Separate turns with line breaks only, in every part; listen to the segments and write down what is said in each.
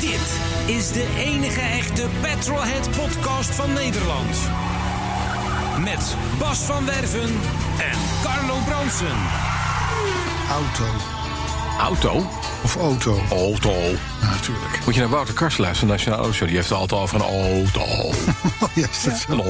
Dit is de enige echte Petrolhead podcast van Nederland. Met Bas van Werven en Carlo Bronsen.
Auto.
Auto?
Of auto.
Auto.
Natuurlijk.
Moet je naar Wouter Kars luisteren, Nationaal Auto Die heeft het altijd over een auto.
Ja, is Oh, dat zo?
Een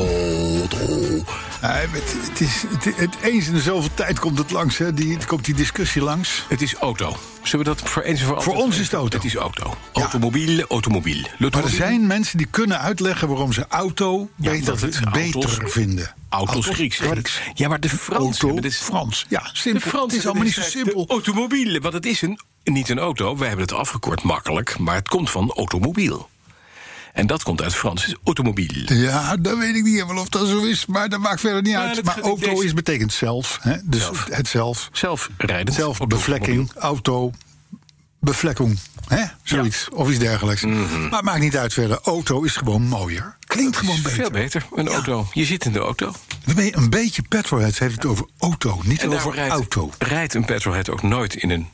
auto.
Nee, maar het, het is, het, het- eens in de zoveel tijd komt het langs, hè? Die, het komt die discussie langs.
Het is auto. Zullen we dat voor eens en voor altijd-
ons is het auto.
Het is auto. Automobiel, automobiel.
Maar er
L'automobile.
zijn mensen die kunnen uitleggen waarom ze auto
Ja,
beter,
dat het
beter
auto's-
vinden.
Auto's Grieks, hè? Ja, maar de Fransen
Auto,
hebben dit-
Frans. Ja,
De
simpel.
Fransen,
het is allemaal niet zo
de-
simpel.
de Automobiel, want het is een, niet een auto. Wij hebben het afgekort makkelijk, maar het komt van automobiel. En dat komt uit het Frans, dus automobiel.
Ja, dat weet ik niet helemaal of dat zo is, maar dat maakt verder niet
Maar
uit.
dat
Maar
vind ik
auto
deze-
is betekent zelf, hè? Dus
Zelf.
het zelf.
Zelfrijdend.
Zelfbevlekking, auto, bevlekking, hè? zoiets. Of iets dergelijks.
Mhm.
Maar het maakt niet uit verder. Auto is gewoon mooier. Klinkt gewoon
Automobiel.
beter.
Veel beter, een auto. Je zit in de auto.
Dan ben je een beetje petrolheads. Heeft het over auto, niet
En daarvoor
over
rijdt,
auto.
rijdt een petrolhead ook nooit in een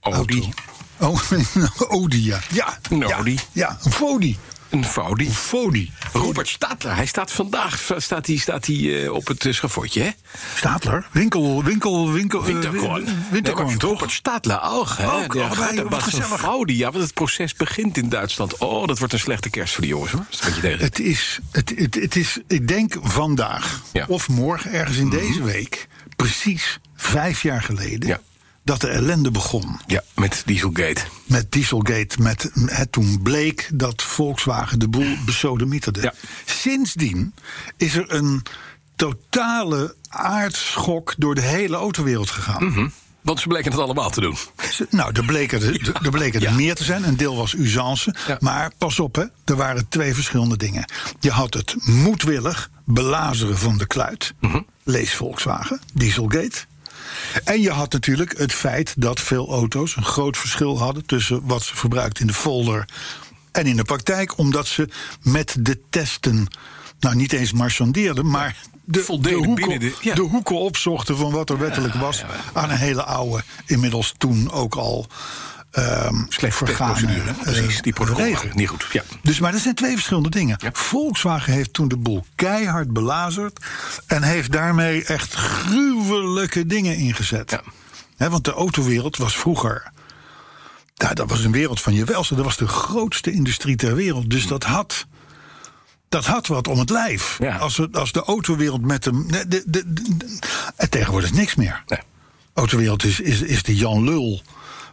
Audi. Nou.
Auto. Oh, een Audi, ja. ja.
Een
ja,
Audi.
Ja, een Fodi.
Een Audi.
Een Fodi.
Robert Stadler, hij staat vandaag staat hij, staat hij, eh, op het eh, schafotje, hè?
Stadler. Winkel, winkel, winkel.
Winterkorn.
eh,
Nee,
Winterkorn,
maar
toch?
Robert Stadler ook, hè?
Ook,
Ja,
allebei,
goed,
wat
was een
gezellig.
Audi, ja, want het proces begint in Duitsland. Oh, dat wordt een slechte kerst voor die jongens, hoor. Dat is wat je tegen.
Het is, het, het, het is, ik denk vandaag
Ja. Mhm.
of morgen, ergens in deze week, precies vijf jaar geleden,
Ja.
dat de ellende begon.
Ja, met Dieselgate.
Met Dieselgate, met het toen bleek dat Volkswagen de boel besodemieterde.
Ja.
Sindsdien is er een totale aardschok door de hele autowereld gegaan.
Mhm. Want ze bleken het allemaal te doen.
Ze- Nou, er bleken er, er, bleken er
Ja.
meer te zijn. Een deel was usance.
Ja.
Maar pas op, hè, er waren twee verschillende dingen. Je had het moedwillig belazeren van de kluit.
Mhm.
Lees Volkswagen, Dieselgate. En je had natuurlijk het feit dat veel auto's een groot verschil hadden tussen wat ze verbruikt in de folder en in de praktijk, omdat ze met de testen, nou niet eens marchandeerden, maar de, de,
Voldeden
hoeken,
binnen de- ja.
de hoeken opzochten van wat er wettelijk was aan een hele oude, inmiddels toen ook al ehm
Slecht
vergane
procedure.
eh,
Precies, die protocollen
regel.
waren niet goed. Ja.
Dus, maar dat zijn twee verschillende dingen.
Ja.
Volkswagen heeft toen de boel keihard belazerd. En heeft daarmee echt gruwelijke dingen ingezet.
Ja.
Hè, want de autowereld was vroeger. Nou, dat was een wereld van je welzijn. Dat was de grootste industrie ter wereld. Dus dat had. Dat had wat om het lijf.
Ja.
Als, we- als de autowereld met hem. De, de, de, de- en tegenwoordig is niks meer.
Nee.
Autowereld is, is, is de Jan Lul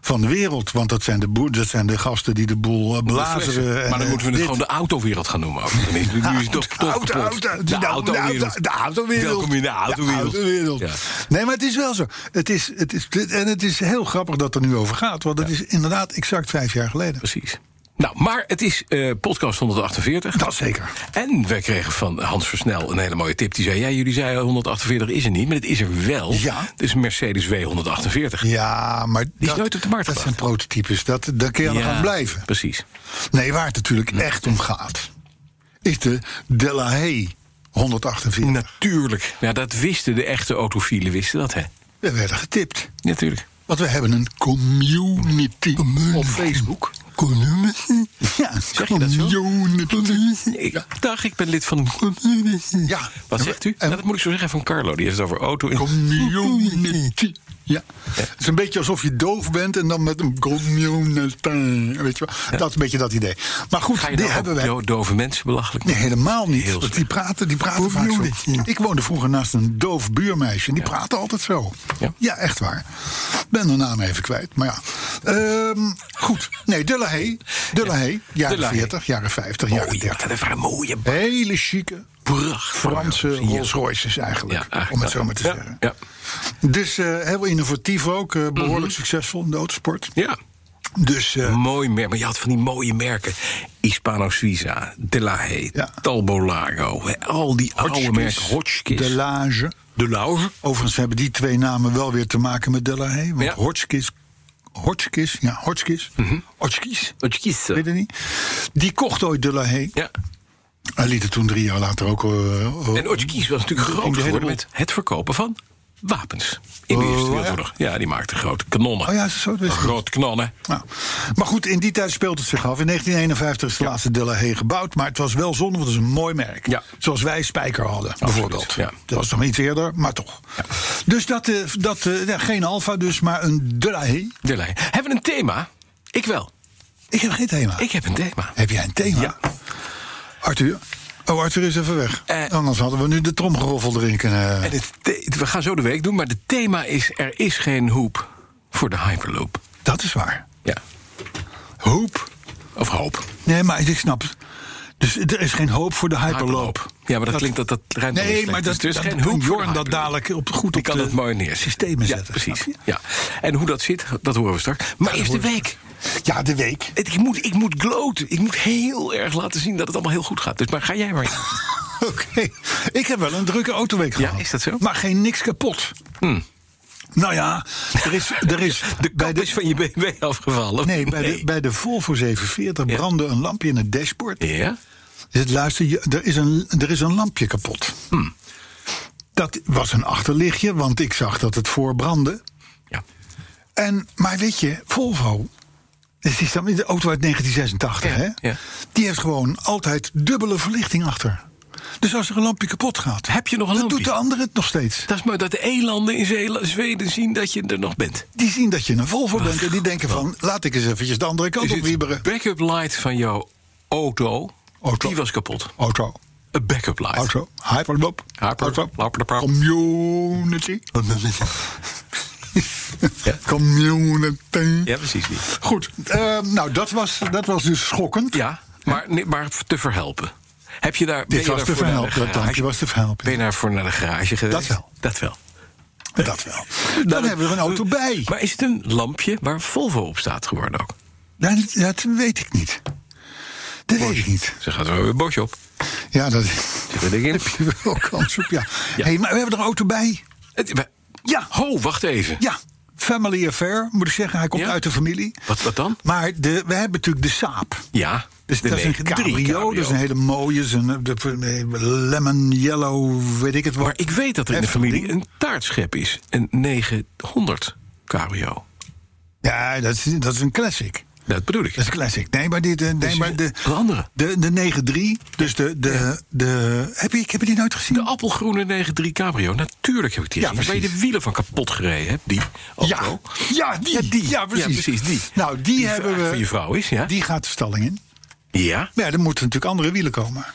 van de wereld. Want dat zijn de, boer, dat zijn de gasten die de boel eh, blazeren. en,
Maar dan
eh,
moeten we het
dit. Nou,
gewoon de autowereld gaan noemen. Ook. Dan is, nu is het toch, toch
Auto,
kapot.
auto,
de
nou,
autowereld.
nou, de autowereld.
Welkom in de autowereld.
autowereld.
Ja.
Nee, maar het is wel zo. Het is, het is, en het is heel grappig dat het er nu over gaat. Want het is inderdaad exact vijf jaar geleden.
Precies. Nou, maar het is eh, podcast 148.
Dat zeker.
En we kregen van Hans Versnel een hele mooie tip. Die zei, ja, jullie zeiden 148 is er niet, maar het is er wel.
Ja.
Het is een Mercedes W148.
Ja, maar
is nooit op de markt
dat
gebracht.
zijn prototypes. Dat, daar kun je aan gaan blijven.
Precies.
Nee, waar het natuurlijk echt om gaat... is de Delahaye 148.
Natuurlijk. Ja, dat wisten de echte autofielen, wisten dat, hè?
We werden getipt.
Natuurlijk.
Want we hebben een community op Facebook. Community? Ja,
je dat zo?
community.
Ik, Dag, ik ben lid van...
Ja.
Wat zegt u?
En-
Nou, dat moet ik zo zeggen van Carlo. Die heeft het over auto. in-
Community. Ja. Het is een beetje alsof je doof bent en dan met een community. Weet je wel? Dat is een beetje dat idee. Maar goed,
Ga je
die
nou
hebben
ook
wij.
do- dove mensen belachelijk
Nee,
maken?
helemaal niet.
Heel
Want die
slecht.
praten, die praten vaak zo. Ik woonde vroeger naast een doof buurmeisje. En die praatte altijd zo. Ja.
Ja.
echt waar. Ben de naam even kwijt. Maar ja. Ehm, goed. Nee, De La Haye. De La Haye. Jaren
De La Haye.
40, jaren 50,
Oh,
jaren
je
30.
had even een mooie
Hele chique
pracht.
Franse Rolls Royces eigenlijk. om het zo maar te
ja,
zeggen.
Ja,
Dus eh, heel innovatief ook. eh, behoorlijk succesvol in de autosport.
Mhm. ja.
Dus eh,
mooi merk. Maar je had van die mooie merken. Hispano Suiza, De La Haye,
Ja.
Talbo Lago. hè, Al die oude merken. Hotchkiss.
De Lage.
De Lauwe.
Overigens hebben die twee namen wel weer te maken met De La Haye. Want
Ja.
Hotchkiss... Hotchkiss? Ja, Hotchkiss. Hotchkiss?
Hotchkiss.
Mhm. Weet het niet. Die kocht ooit De La Haye.
Ja.
Hij liet het toen drie jaar later ook... eh, eh,
En Hotchkiss was natuurlijk
ging
groot
de hele
geworden
boel.
met het verkopen van wapens. In de
Oh,
Eerste
ja.
Wereldoorlog. Ja, die maakte grote kanonnen.
Oh ja, zo wist ik.
Grote kanonnen.
Nou, maar goed, in die tijd speelt het zich af. In 1951 is de laatste De La Haye gebouwd. Maar het was wel zonde, want het is een mooi merk.
Ja.
Zoals wij Spijker hadden, bijvoorbeeld.
ja.
Dat was nog iets eerder, maar toch. Dus dat, eh, dat eh, ja, geen Alfa dus, maar een De La Haye.
De La Haye. Hebben we een thema? Ik wel.
Ik heb geen thema.
Ik heb een thema.
Heb jij een thema?
Ja.
Arthur? Oh, Arthur is even weg.
Eh.
Anders hadden we nu de tromgeroffel erin kunnen...
En het the- we gaan zo de week doen, maar het thema is... er is geen hoep voor de Hyperloop.
Dat is waar.
Ja.
Hoop.
Of hoop.
Nee, maar ik snap het. Dus er is geen hoop voor de hyperloop.
Ja, maar dat, klinkt dat dat rijmt wel
Nee,
slecht.
maar
Dus
dat,
er is
dat
geen
kan
hoep voor de
Jorn dat
Hyperloop.
dadelijk op, goed
Die
op
kan
de
dat mooi neerzetten.
systemen
ja,
zetten.
Precies.
snap je?
Ja. En hoe dat zit, dat horen we straks. Maar eerst de
horen we
week.
Ja, de week.
Het- Ik moet, ik moet gloten. Ik moet heel erg laten zien dat het allemaal heel goed gaat. Dus maar ga jij maar. in.
Oké. Ik heb wel een drukke autoweek
Ja,
gehad.
is dat zo? Hm.
Maar geen niks kapot. Nou ja, er is... Er is
De kap is van je BMW afgevallen.
nee, bij de, bij de Volvo 740
Oh, Ja.
brandde een lampje in het dashboard.
Ja?
Dus luister, je, er, is een, er is een lampje kapot.
Hm.
Dat was een achterlichtje, want ik zag dat het voor brandde.
Ja.
En, maar weet je, Volvo, dus die staat in de auto uit 1986,
Ja,
hè?
ja.
Die heeft gewoon altijd dubbele verlichting achter. Dus als er een lampje kapot gaat,
Heb je nog een
dan
lampje?
doet de andere het nog steeds.
Dat is mooi dat de elanden in Zeeland- Zweden zien dat je er nog bent.
Die zien dat je een Volvo bent en die denken van... laat ik eens eventjes de andere kant
Dus
op
het
wieberen.
backup light van jouw auto,
Auto.
die was kapot.
Auto,
Een backup light.
auto, hyperloop,
Hyper-
auto,
hyperloop.
community. Community.
Ja, precies niet.
Goed, eh, nou dat was, dat was dus schokkend.
Ja, maar, nee, maar te verhelpen. Heb je daar, ben
Dit
je
was te
daarvoor naar de
verhelpen, dat lampje
garage-
was te verhelpen.
Ben je daarvoor naar de garage geweest?
Dat wel.
Dat wel.
Dat wel. Dan hebben we er een auto bij.
Nou, Maar is het een lampje waar Volvo op staat geworden ook?
Ja, Nou, Dat, dat weet ik niet. Dat weet ik niet.
Ze gaat er weer boos op.
Ja, dat
Zit er dik in?
heb je wel kans op, ja.
Ja.
Hey, maar we hebben er een auto bij.
Het- we-
Ja.
Ho, wacht even.
Ja, family affair, moet ik zeggen. Hij komt
Ja?
uit de familie.
Wat, wat dan?
Maar de, we hebben natuurlijk de Saab.
Ja.
Dus
de
dat is een
W3
cabrio, dat is een hele mooie, is een, eh, de- eh, lemon yellow, weet ik het wat.
Maar ik weet dat er in de
Heftig
familie
ding.
een taartschep is. Een 900 cabrio.
Ja, dat is, dat is een classic.
Dat bedoel ik.
Dat is een classic. Nee, maar, dit, eh, nee,
is
maar de,
een andere.
de, de 9-3, dus de... de, de heb, je, ik heb je die nooit gezien?
De appelgroene 9-3 cabrio. Natuurlijk heb ik die
Ja,
gezien. Waar je
precies.
de wielen van kapot gereden hebt. Die
Ja,
auto.
ja, die. Ja, precies.
Ja, precies, die.
Nou, die, hebben
vraag
we.
van je vrouw is, ja?
Die gaat de stalling in.
Ja.
Maar ja, er moeten natuurlijk andere wielen komen.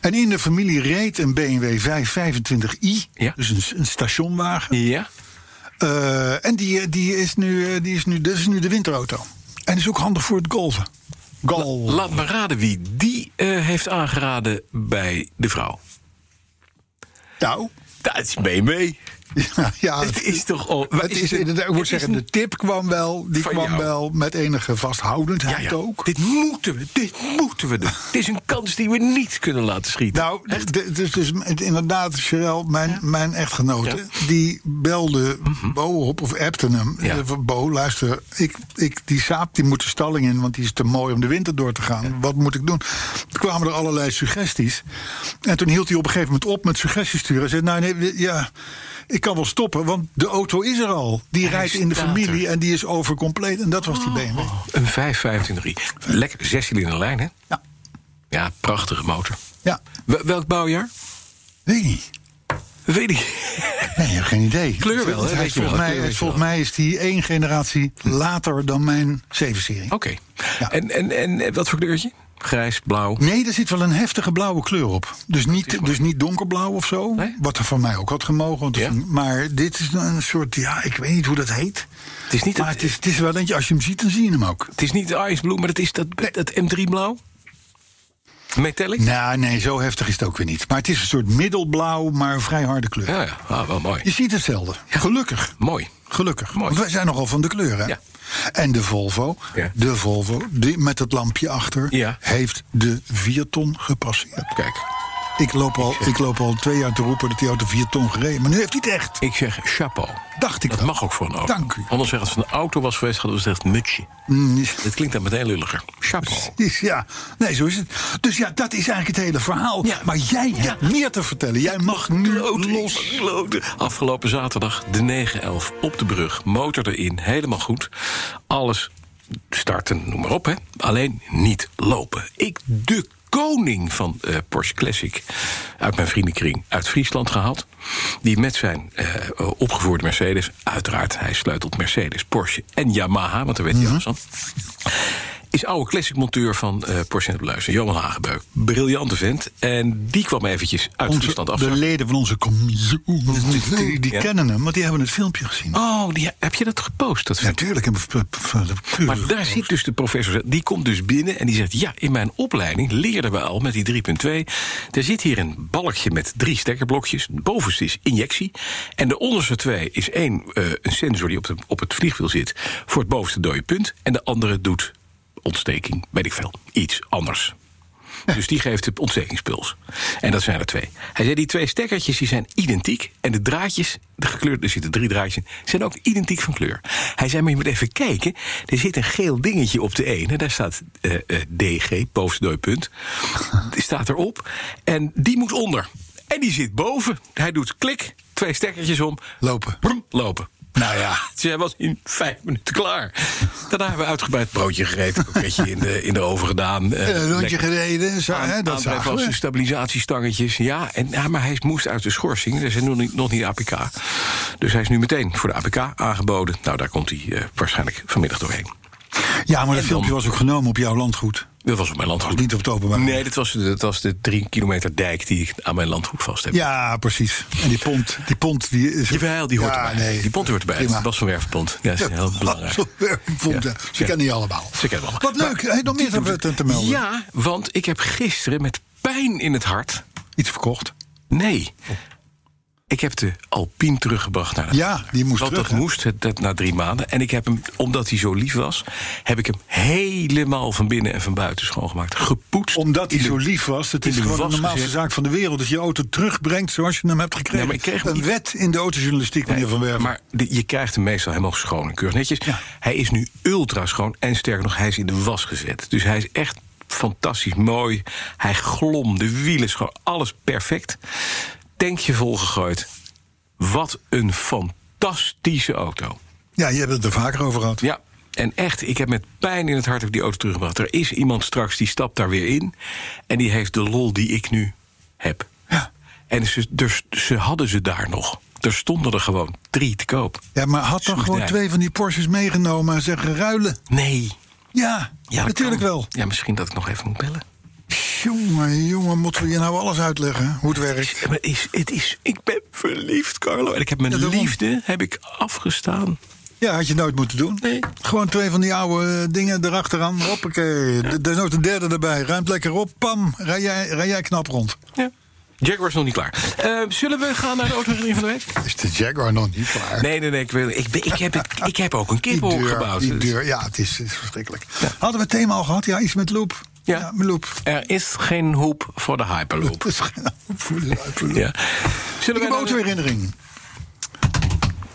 En in de familie reed een BMW 525i.
Ja.
Dus een, een stationwagen.
Ja.
Eh, en die, eh, die, is nu, eh, die is nu, dat is nu de winterauto. En is ook handig voor het golven. Golf.
Laat me raden wie die eh, heeft aangeraden bij de vrouw.
nou,
Dat is BMW.
ja, ja,
Het is toch al.
Het is, inderdaad, ik moet zeggen, de tip kwam wel. Die
Van
kwam
jou.
wel met enige vasthoudendheid
ja, ja.
ook. Ah.
Dit moeten we, dit moeten we doen. Het is een kans die we niet kunnen laten schieten.
Nou, d- dus, dus inderdaad, Cheryl, mijn, mijn echtgenote, die belde Bo op of appte hem.
Mhm. Ja.
Eh, van, Bo, luister, ik, ik, die saap die moet de stalling in, want die is te mooi om de winter door te gaan. Wat moet ik doen? Toen kwamen er allerlei suggesties. En toen hield hij op een gegeven moment op met suggesties sturen. Hij zei, nou nee, we- ja, ik kan wel stoppen, want de auto is er al. Die
Hij Oh.
rijdt in de
staat
familie
er.
en die is overcompleet. En dat was die BMW.
Een 525i. Lekker, zescilinder lijn, hè?
Ja,
Ja, prachtige motor.
ja,
Wel- welk bouwjaar?
weet ik niet.
Weet ik.
Nee, je hebt geen idee.
Kleur wel, hè?
Hij
Weet
is
je wel,
volgens, mij,
kleur weet je
volgens mij is die één generatie later dan mijn 7-serie.
Oké.
Ja.
En, en, en eh, wat voor kleurtje? Grijs, blauw.
Nee, er zit wel een heftige blauwe kleur op. Dus niet, dus niet donkerblauw of zo.
Nee?
Wat er voor mij ook had gemogen. want
Ja.
Maar dit is een soort, ja, ik weet niet hoe dat heet.
Het is niet,
Maar
het,
het is, het is wel eentje, als je hem ziet, dan zie je hem ook.
het is niet Ice Blue, maar het is dat, dat M3 blauw. Metallic?
Nou, nee, zo heftig is het ook weer niet. Maar het is een soort middelblauw, maar een vrij harde kleur.
Ja, ja. Ah, wel mooi.
Je ziet hetzelfde. Gelukkig.
Mooi.
Gelukkig.
Mooi.
Want wij zijn nogal van de kleuren.
Ja.
En de Volvo,
Ja.
de Volvo die met het lampje achter,
Ja.
heeft de 4 ton gepasseerd.
Kijk,
Ik loop, al, ik loop al twee jaar te roepen dat die auto 4 ton gereden. Maar nu heeft hij het echt.
ik zeg chapeau.
Dacht ik
Dat
wel.
mag ook voor een auto.
Dank u.
Anders zeggen als het een auto was geweest, hadden we gezegd mutsje.
Mm,
Het klinkt dan meteen lulliger. Chapeau.
Precies, ja. Nee, zo is het. Dus ja, dat is eigenlijk het hele verhaal.
Ja.
Maar jij hebt meer te vertellen. Jij mag nu los.
Los. Afgelopen zaterdag de 9-11 op de brug. Motor erin, helemaal goed. Alles starten, noem maar op. Hè. Alleen niet lopen. Ik de koning van eh, Porsche Classic uit mijn vriendenkring uit Friesland gehaald. Die met zijn eh, opgevoerde Mercedes, uiteraard hij sleutelt Mercedes, Porsche en Yamaha, want daar weet hij
Mhm.
alles van. Is oude classic monteur van eh Porsche en het Beluister, Johan Hagebeuk. Briljante vent. En die kwam eventjes uit Friesland
Onze,
af.
de leden van onze commissie, die, die
Ja.
kennen hem, want die hebben het filmpje gezien.
Oh, die, heb je dat gepost? Dat filmpje?
Natuurlijk. hebben we-
maar daar zit dus de professor. Die komt dus binnen en die zegt: Ja, in mijn opleiding leerden we al met die 3.2. Er zit hier een balkje met drie stekkerblokjes. De bovenste is injectie. En de onderste twee is één eh, een sensor die op, de, op het vliegwiel zit voor het bovenste dode punt. En de andere doet ontsteking, weet ik veel. Iets anders. Dus die geeft de ontstekingspuls. En dat zijn er twee. Hij zei, die twee stekkertjes die zijn identiek. En de draadjes, de gekleurde, er zitten drie draadjes in, zijn ook identiek van kleur. Hij zei, maar je moet even kijken. Er zit een geel dingetje op de ene. Daar staat eh, eh, DG, bovenste dooipunt. Die staat erop. En die moet onder. En die zit boven. Hij doet klik, twee stekkertjes om.
Lopen.
Brum, lopen. Nou ja, zij was in vijf minuten klaar. Daarna hebben we uitgebreid broodje gegeten, koketje in de, in de oven gedaan. eh,
En een rondje
lekker
gereden, zo,
aan-
hè, dat
aandrijf
zagen
was de
we.
stabilisatiestangetjes. Ja, en, ja, maar hij moest uit de schorsing. Dus hij is nog niet, nog niet de APK. Dus hij is nu meteen voor de APK aangeboden. Nou, daar komt hij eh, waarschijnlijk vanmiddag doorheen.
Ja, maar dat
En
filmpje
dan-
was ook genomen op jouw landgoed.
Dat was op mijn landgoed.
Niet op het openbaar.
Nee, dat was, dat was de drie kilometer dijk die ik aan mijn landgoed vast heb.
Ja, precies. En die pont, die pont die is...
Jawel, die hoort
Ja,
erbij.
nee.
Die pont hoort erbij.
Prima.
Dat was van Wervenpont. Ja, dat is heel belangrijk.
eh, Pont,
Ja.
ja. Ze kennen je allemaal.
Ze kennen hem allemaal.
Wat leuk,
Maar
hey, nog meer
die doet-
te, te- te melden.
Ja, want ik heb gisteren met pijn in het hart.
Iets verkocht.
Nee. Ik heb de Alpine teruggebracht naar de
Ja, die moest
Want
terug,
dat
hè?
moest het, dat, na drie maanden. En ik heb hem, omdat hij zo lief was, heb ik hem helemaal van binnen en van buiten schoongemaakt. Gepoetst.
Omdat hij
In de-
zo lief was. Het
in
is
de
gewoon de
was
normaalste
gezet.
zaak van de wereld. Dat je je auto terugbrengt zoals je hem hebt gekregen.
Nee, maar ik kreeg hem
een
niet.
wet in de autojournalistiek, meneer Van Werven.
Maar de- je krijgt hem meestal helemaal schoon en keurig netjes.
Ja.
Hij is nu ultra schoon en sterker nog, hij is in de was gezet. Dus hij is echt fantastisch mooi. Hij glom, de wielen schoon, alles perfect. Tankje volgegooid. Wat een fantastische auto.
Ja, je hebt het er vaker over gehad.
Ja, en echt, ik heb met pijn in het hart heb ik die auto teruggebracht. Er is iemand straks die stapt daar weer in. En die heeft de lol die ik nu heb.
Ja.
En ze, dus, ze hadden ze daar nog. Er stonden er gewoon drie te koop.
Ja, maar had dan
Zoek
gewoon
naar.
twee van die Porsches meegenomen en zeggen ruilen?
Nee.
Ja,
dat
natuurlijk
kan.
wel.
Ja, misschien dat ik nog even moet bellen.
Jongen, jongen, moeten we je nou alles uitleggen hoe het werkt?
Ja, maar het is, het is, ik ben verliefd, Carlo. En ik heb mijn
Ja, daarom.
liefde heb ik afgestaan.
Ja, had je nooit moeten doen.
Nee.
Gewoon twee van die oude eh, dingen erachteraan. Hoppakee. Er is ook een derde erbij. Ruimt lekker op. Pam. Rij jij, rij jij knap rond.
Ja. Jaguar is nog niet klaar. Eh, zullen we gaan naar de autoherinnering van de week?
Is de Jaguar nog niet klaar?
Nee, nee, nee. Ik, wil, ik, ben- ik, heb, het, ik heb ook een
Die
kippenhok
deur,
gebouwd.
Die
Dus-
deur. Ja, het is, het is verschrikkelijk. Hadden we het thema al gehad? Ja, iets met loop.
Ja.
met loop.
Er is geen hoop voor de Hyperloop.
Het is geen voor de uitvloer.
Ja.
Ik
Zullen
heb
naar de-
autoherinnering.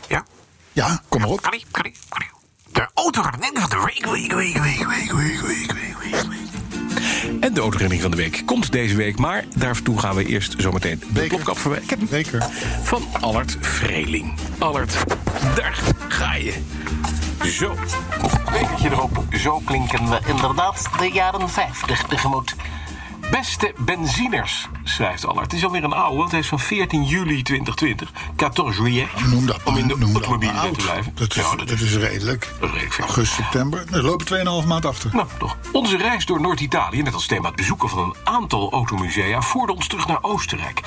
Ja.
Ja, kom maar op.
Kan ik, kan ik, kan ik. De auto gaat denken van de week, week, week, week, week, week, week, week, week, week.
En de autoherinnering van de week komt deze week. Maar daartoe gaan we eerst zometeen de
Beker.
plopkap voorbij. Ik heb hem.
Beker.
Van Allard Vreling. Allard, daar ga je. Zo.
Bekertje erop, zo klinken we inderdaad de jaren 50 tegemoet. Beste benziners,
schrijft Allard. Het is alweer een oude, want hij is van 14 juli 2020. 14 juillet.
Noem dat
om
maar,
in de
noem dat maar
automobiel te
oud.
blijven.
Dat is,
Ja,
dat is redelijk.
dat is redelijk ver.
August, september. Nou, Er lopen 2,5 maand achter.
Nou, toch. Onze reis door Noord-Italië met als thema het bezoeken van een aantal automusea voerde ons terug naar Oostenrijk.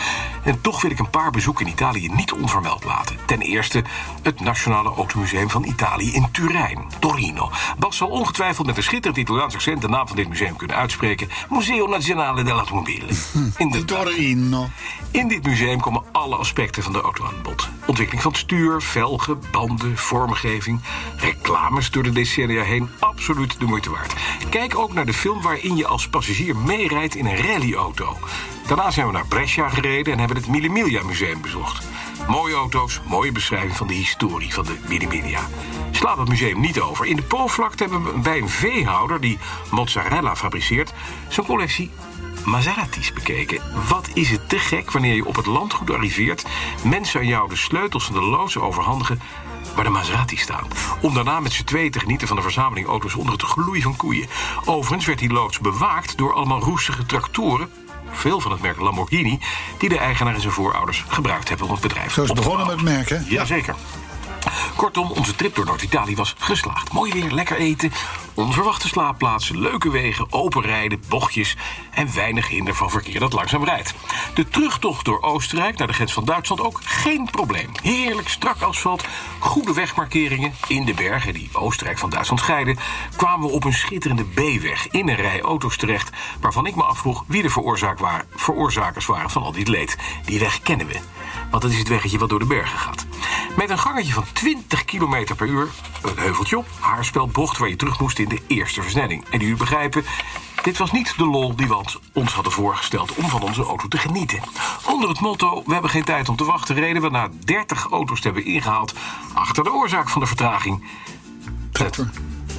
En toch wil ik een paar bezoeken in Italië niet onvermeld laten. Ten eerste het Nationale Automuseum van Italië in Turijn, Torino. Bas zal ongetwijfeld met een schitterend Italiaans accent de naam van dit museum kunnen uitspreken: Museo Nazionale dell'Automobile.
In
Inderdaad.
Torino.
In dit museum komen alle aspecten van de auto aan bod. Ontwikkeling van het stuur, velgen, banden, vormgeving, reclames door de decennia heen. Absoluut de moeite waard. Kijk ook naar de film waarin je als passagier meerijdt in een rallyauto. Daarna zijn we naar Brescia gereden en hebben het Mille Miglia Museum bezocht. Mooie auto's, mooie beschrijving van de historie van de Mille Miglia. Sla dat museum niet over. In de Poolvlakte hebben we bij een veehouder die mozzarella fabriceert... zijn collectie Maseratis bekeken. Wat is het te gek wanneer je op het landgoed arriveert, mensen aan jou de sleutels van de loods overhandigen waar de Maserati staan. Om daarna met z'n tweeën te genieten van de verzameling auto's onder het gloei van koeien. Overigens werd die loods bewaakt door allemaal roestige tractoren, veel van het merk Lamborghini, die de eigenaar en zijn voorouders gebruikt hebben om het bedrijf
Zo is
op
het
te
begonnen met
bouwen.
merken.
Jazeker. Kortom, onze trip door Noord-Italië was geslaagd. Mooi weer, lekker eten, onverwachte slaapplaatsen, leuke wegen, open rijden, bochtjes en weinig hinder van verkeer dat langzaam rijdt. De terugtocht door Oostenrijk naar de grens van Duitsland ook geen probleem. Heerlijk strak asfalt, goede wegmarkeringen in de bergen die Oostenrijk van Duitsland scheiden, kwamen we op een schitterende B-weg in een rij auto's terecht, waarvan ik me afvroeg wie de veroorzaak waren- veroorzakers waren van al dit leed. Die weg kennen we. Want dat is het weggetje wat door de bergen gaat. Met een gangetje van 20 km per uur, een heuveltje op, haarspelbocht waar je terug moest in de eerste versnelling. En die u begrijpen, dit was niet de lol die we ons- ons hadden voorgesteld om van onze auto te genieten. Onder het motto: We hebben geen tijd om te wachten, reden we na 30 auto's te hebben ingehaald achter de oorzaak van de vertraging.
Tractor.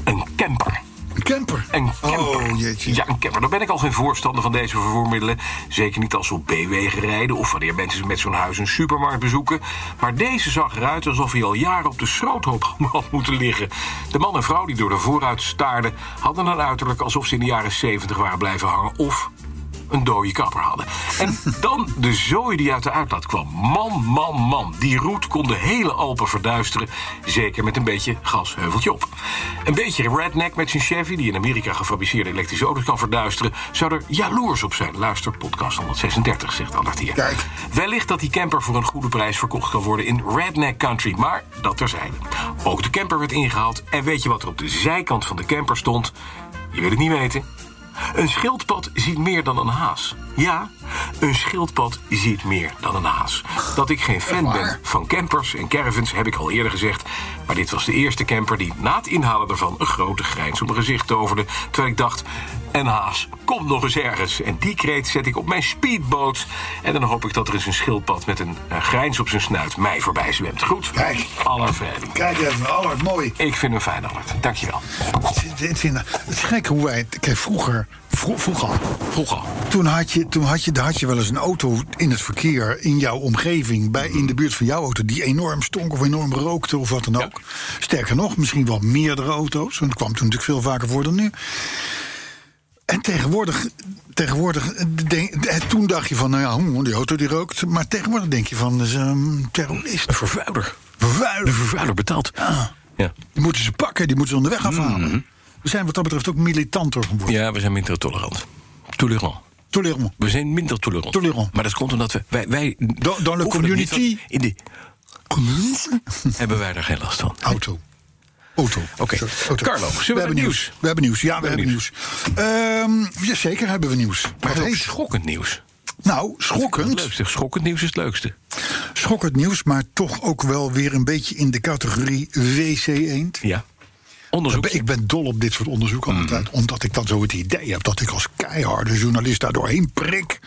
Een camper.
Een camper.
Een camper.
Oh, jeetje.
Ja, een camper. Daar ben ik al geen voorstander van deze vervoermiddelen. Zeker niet als we op B-wegen rijden of wanneer mensen met zo'n huis een supermarkt bezoeken. Maar deze zag eruit alsof hij al jaren op de schroothoop had moeten liggen. De man en vrouw die door de vooruit staarden hadden een uiterlijk alsof ze in de jaren 70 waren blijven hangen. Of een dode kapper hadden. En dan de zooi die uit de uitlaat kwam. Man, man, man. Die roet kon de hele Alpen verduisteren. Zeker met een beetje gasheuveltje op. Een beetje redneck met zijn Chevy... die in Amerika gefabriceerde elektrische auto's kan verduisteren... zou er jaloers op zijn. Luister podcast 136, zegt Albert hier.
Kijk.
Wellicht dat die camper voor een goede prijs verkocht kan worden in Redneck Country, maar dat terzijde. Ook de camper werd ingehaald en weet je wat er op de zijkant van de camper stond? Je wil het niet weten. Een schildpad ziet meer dan een haas. Ja, een schildpad ziet meer dan een haas. Dat ik geen fan ben van campers en caravans heb ik al eerder gezegd. Maar dit was de eerste camper die na het inhalen ervan een grote grijns op mijn gezicht toverde. Terwijl ik dacht, en haas, kom nog eens ergens. En die kreet zet ik op mijn speedboot. En dan hoop ik dat er eens een schildpad met een, eh, grijns op zijn snuit mij voorbij zwemt. Goed?
Kijk.
Allerveiling.
Kijk even, Allard, mooi.
Ik vind hem fijn, Albert. Dankjewel.
Het, het, het is gek hoe wij... het- Kijk, vroeger... vro- vroeger
Vroeger.
Toen had je, toen had je, daar had je wel eens een auto in het verkeer, in jouw omgeving, bij, in de buurt van jouw auto, die enorm stonk of enorm rookte of wat dan ook. Sterker nog, misschien wel meerdere auto's, want dat kwam toen natuurlijk veel vaker voor dan nu. En tegenwoordig, tegenwoordig denk- eh, toen dacht je van, nou ja, hm, die auto die rookt, maar tegenwoordig denk je van, dat is een terrorist.
Een vervuiler.
Vervuiler.
vervuiler betaalt.
Ah.
Ja.
Die moeten ze pakken, die moeten ze onderweg afhalen. We zijn wat dat betreft ook militanter geworden.
ja, we zijn minder tolerant. Tolerant.
Tolerant.
We zijn minder tolerant.
Tolerant.
Maar dat komt omdat we... Wij, wij
dans le
oefenen
community.
niet, want In de hebben wij daar geen last van.
Auto. Auto.
Oké.
Sorry, auto.
Carlo, zullen we naar
hebben
nieuws?
We hebben nieuws. Ja, we, hebben nieuws. Ehm, ja, zeker hebben we nieuws.
Maar
Wat
ook
heet?
schokkend nieuws.
Nou,
Het
schokkend.
leukste. Schokkend nieuws is het leukste.
Schokkend nieuws, maar toch ook wel weer een beetje in de categorie WC-eend.
Ja. Onderzoek. Mhm.
Ik ben dol op dit soort onderzoek altijd. Omdat ik dan zo het idee heb dat ik als keiharde journalist daar doorheen prik.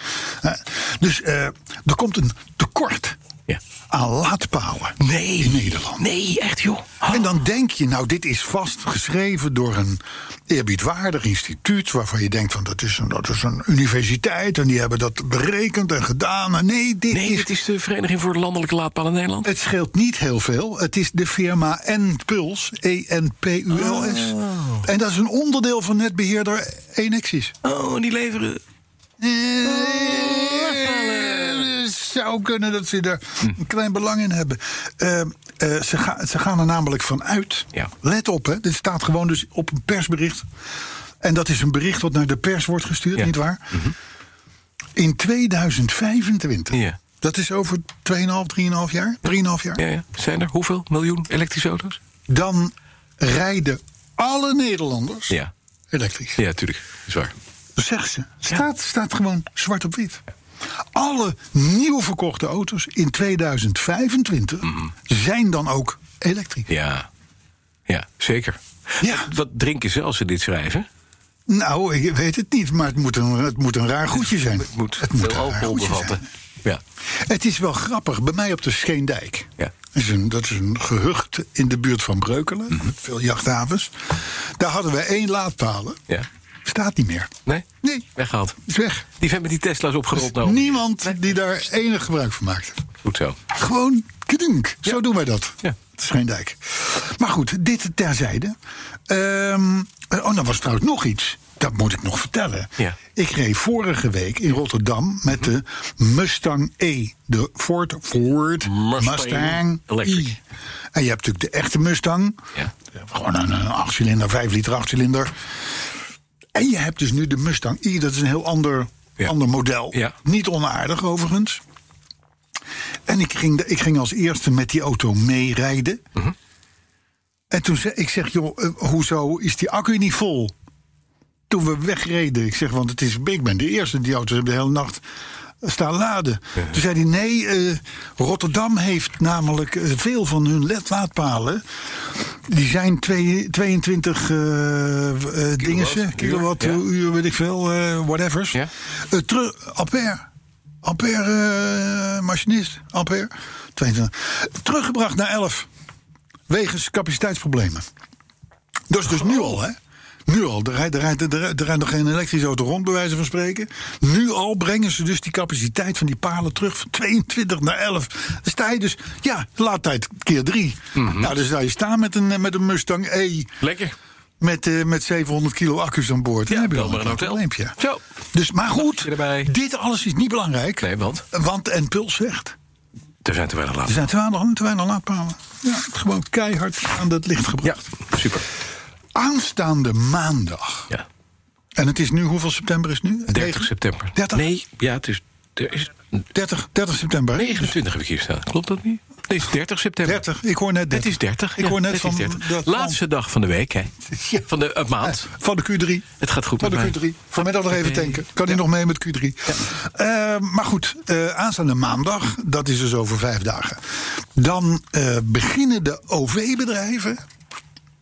Eh, Dus eh, er komt een tekort
Ja.
aan laadpalen
Nee.
in Nederland.
Nee, echt joh.
En dan denk je, nou, dit is vastgeschreven door een eerbiedwaardig instituut. waarvan je denkt, van dat is een, dat is een universiteit. en die hebben dat berekend en gedaan. En nee, dit
Nee,
is.
dit is de Vereniging voor Landelijke Laadpalen Nederland.
Het scheelt niet heel veel. Het is de firma E N-Puls, E-N-P-U-L-S.
Oh.
En dat is een onderdeel Eh. van netbeheerder Enexis.
Oh, en die leveren.
Eh, zou kunnen dat ze er een klein belang in hebben. Eh, eh, ze, ga- ze gaan er namelijk van uit.
Ja.
Let op, hè, dit staat gewoon dus op een persbericht. En dat is een bericht wat naar de pers wordt gestuurd,
Ja. Mhm.
nietwaar? In 2025.
Ja.
Dat is over 2,5, 3,5 jaar? 3,5 jaar.
Ja, ja. Zijn er hoeveel miljoen elektrische auto's?
Dan rijden alle Nederlanders
Ja,
elektrisch.
ja tuurlijk. Dat is waar.
Dat zegt ze. Staat, staat gewoon zwart op wit. Alle nieuw verkochte auto's in 2025
Mhm.
zijn dan ook elektrisch.
Ja, ja zeker.
Ja.
Wat- Wat drinken ze als ze dit schrijven?
Nou, ik weet het niet, maar het moet een, het moet een raar goedje zijn.
Het moet,
een
veel
raar
alcohol
goedje
bevatten.
zijn.
Ja.
Het is wel grappig, bij mij op de Scheendijk.
Ja.
Dat is een, dat is een gehucht in de buurt van Breukelen,
Mhm.
met veel jachthavens. Daar hadden we één laadpalen.
ja.
Staat niet meer.
Nee?
Nee, Dus
Weggehaald.
is weg.
Die vent met die Tesla's opgerold. Nou,
Niemand die daar enig gebruik van maakte.
Goed zo.
Gewoon kdunk. Zo doen wij dat.
Ja.
Het is geen dijk. Maar goed, dit terzijde. Ehm, oh, dan was trouwens nog iets. Dat moet ik nog vertellen.
Ja.
Ik reed vorige week in Rotterdam met de Mustang E. De Ford, Ford
Mustang Electric.
E. En je hebt natuurlijk de echte Mustang.
Ja.
Gewoon een, een 8-cilinder, 5 liter 8-cilinder. En je hebt dus nu de Mustang E. Dat is een heel ander,
Ja.
ander model.
Ja.
Niet onaardig overigens. En ik ging, de- ik ging als eerste met die auto meerijden.
Mhm.
En toen zei ik, zeg, joh, eh, hoezo is die accu niet vol? Toen we wegreden, ik zeg, want het is, ik ben de eerste, die auto's hebben de hele nacht staan laden. Toen zei hij, nee, eh, Rotterdam heeft namelijk eh, veel van hun LED-laadpalen. Die zijn twee- 22 eh eh, dingen, kilowatt,
ja.
uur, weet ik veel, eh whatevers.
Ja.
Eh, terug, Ampère. Ampère, eh, machinist. Ampère. 22. Teruggebracht naar 11. Wegens capaciteitsproblemen. Dat is dus nu al, hè? Nu al. Er rijdt, er, rijdt, er, rijdt- er rijdt nog geen elektrische auto rond, bij wijze van spreken. Nu al brengen ze dus die capaciteit van die palen terug van 22 naar 11. Dan sta je dus, ja, laadtijd keer 3. Nou, dan sta je staan met een, eh, met een Mustang E
Lekker.
met, eh, met 700 kilo accu's aan boord. Dan
Ja,
heb je
bel
al
maar een hotel.
probleempje.
Zo.
Dus, maar goed,
Dagje erbij.
dit alles is niet belangrijk.
Nee, want
Want en Puls zegt,
er zijn te weinig
er
laten.
zijn te weinig, te weinig laadpalen. Ja, gewoon keihard aan het licht
Ja,
gebracht.
super.
Aanstaande maandag.
Ja.
En het is nu, hoeveel september is het nu?
30
Negen-
september.
30?
Nee, ja, het is, er is
30, 30 september. hè?
29 heb ik hier staan. Klopt dat niet? Nee, het is 30 september.
30, ik hoor net 30.
Het is 30.
Ik
ja,
hoor net
het
van
is 30.
dat
Laatste dag van de week, hè?
Ja. Nou,
Van de eh, maand.
Van de Q3.
Het gaat goed
Van de
met mij.
Q3. Vanmiddag nog even tanken. Kan hij nog mee met Q3? Eh, maar goed, eh, aanstaande maandag, dat is dus over vijf dagen. Dan eh, beginnen de OV-bedrijven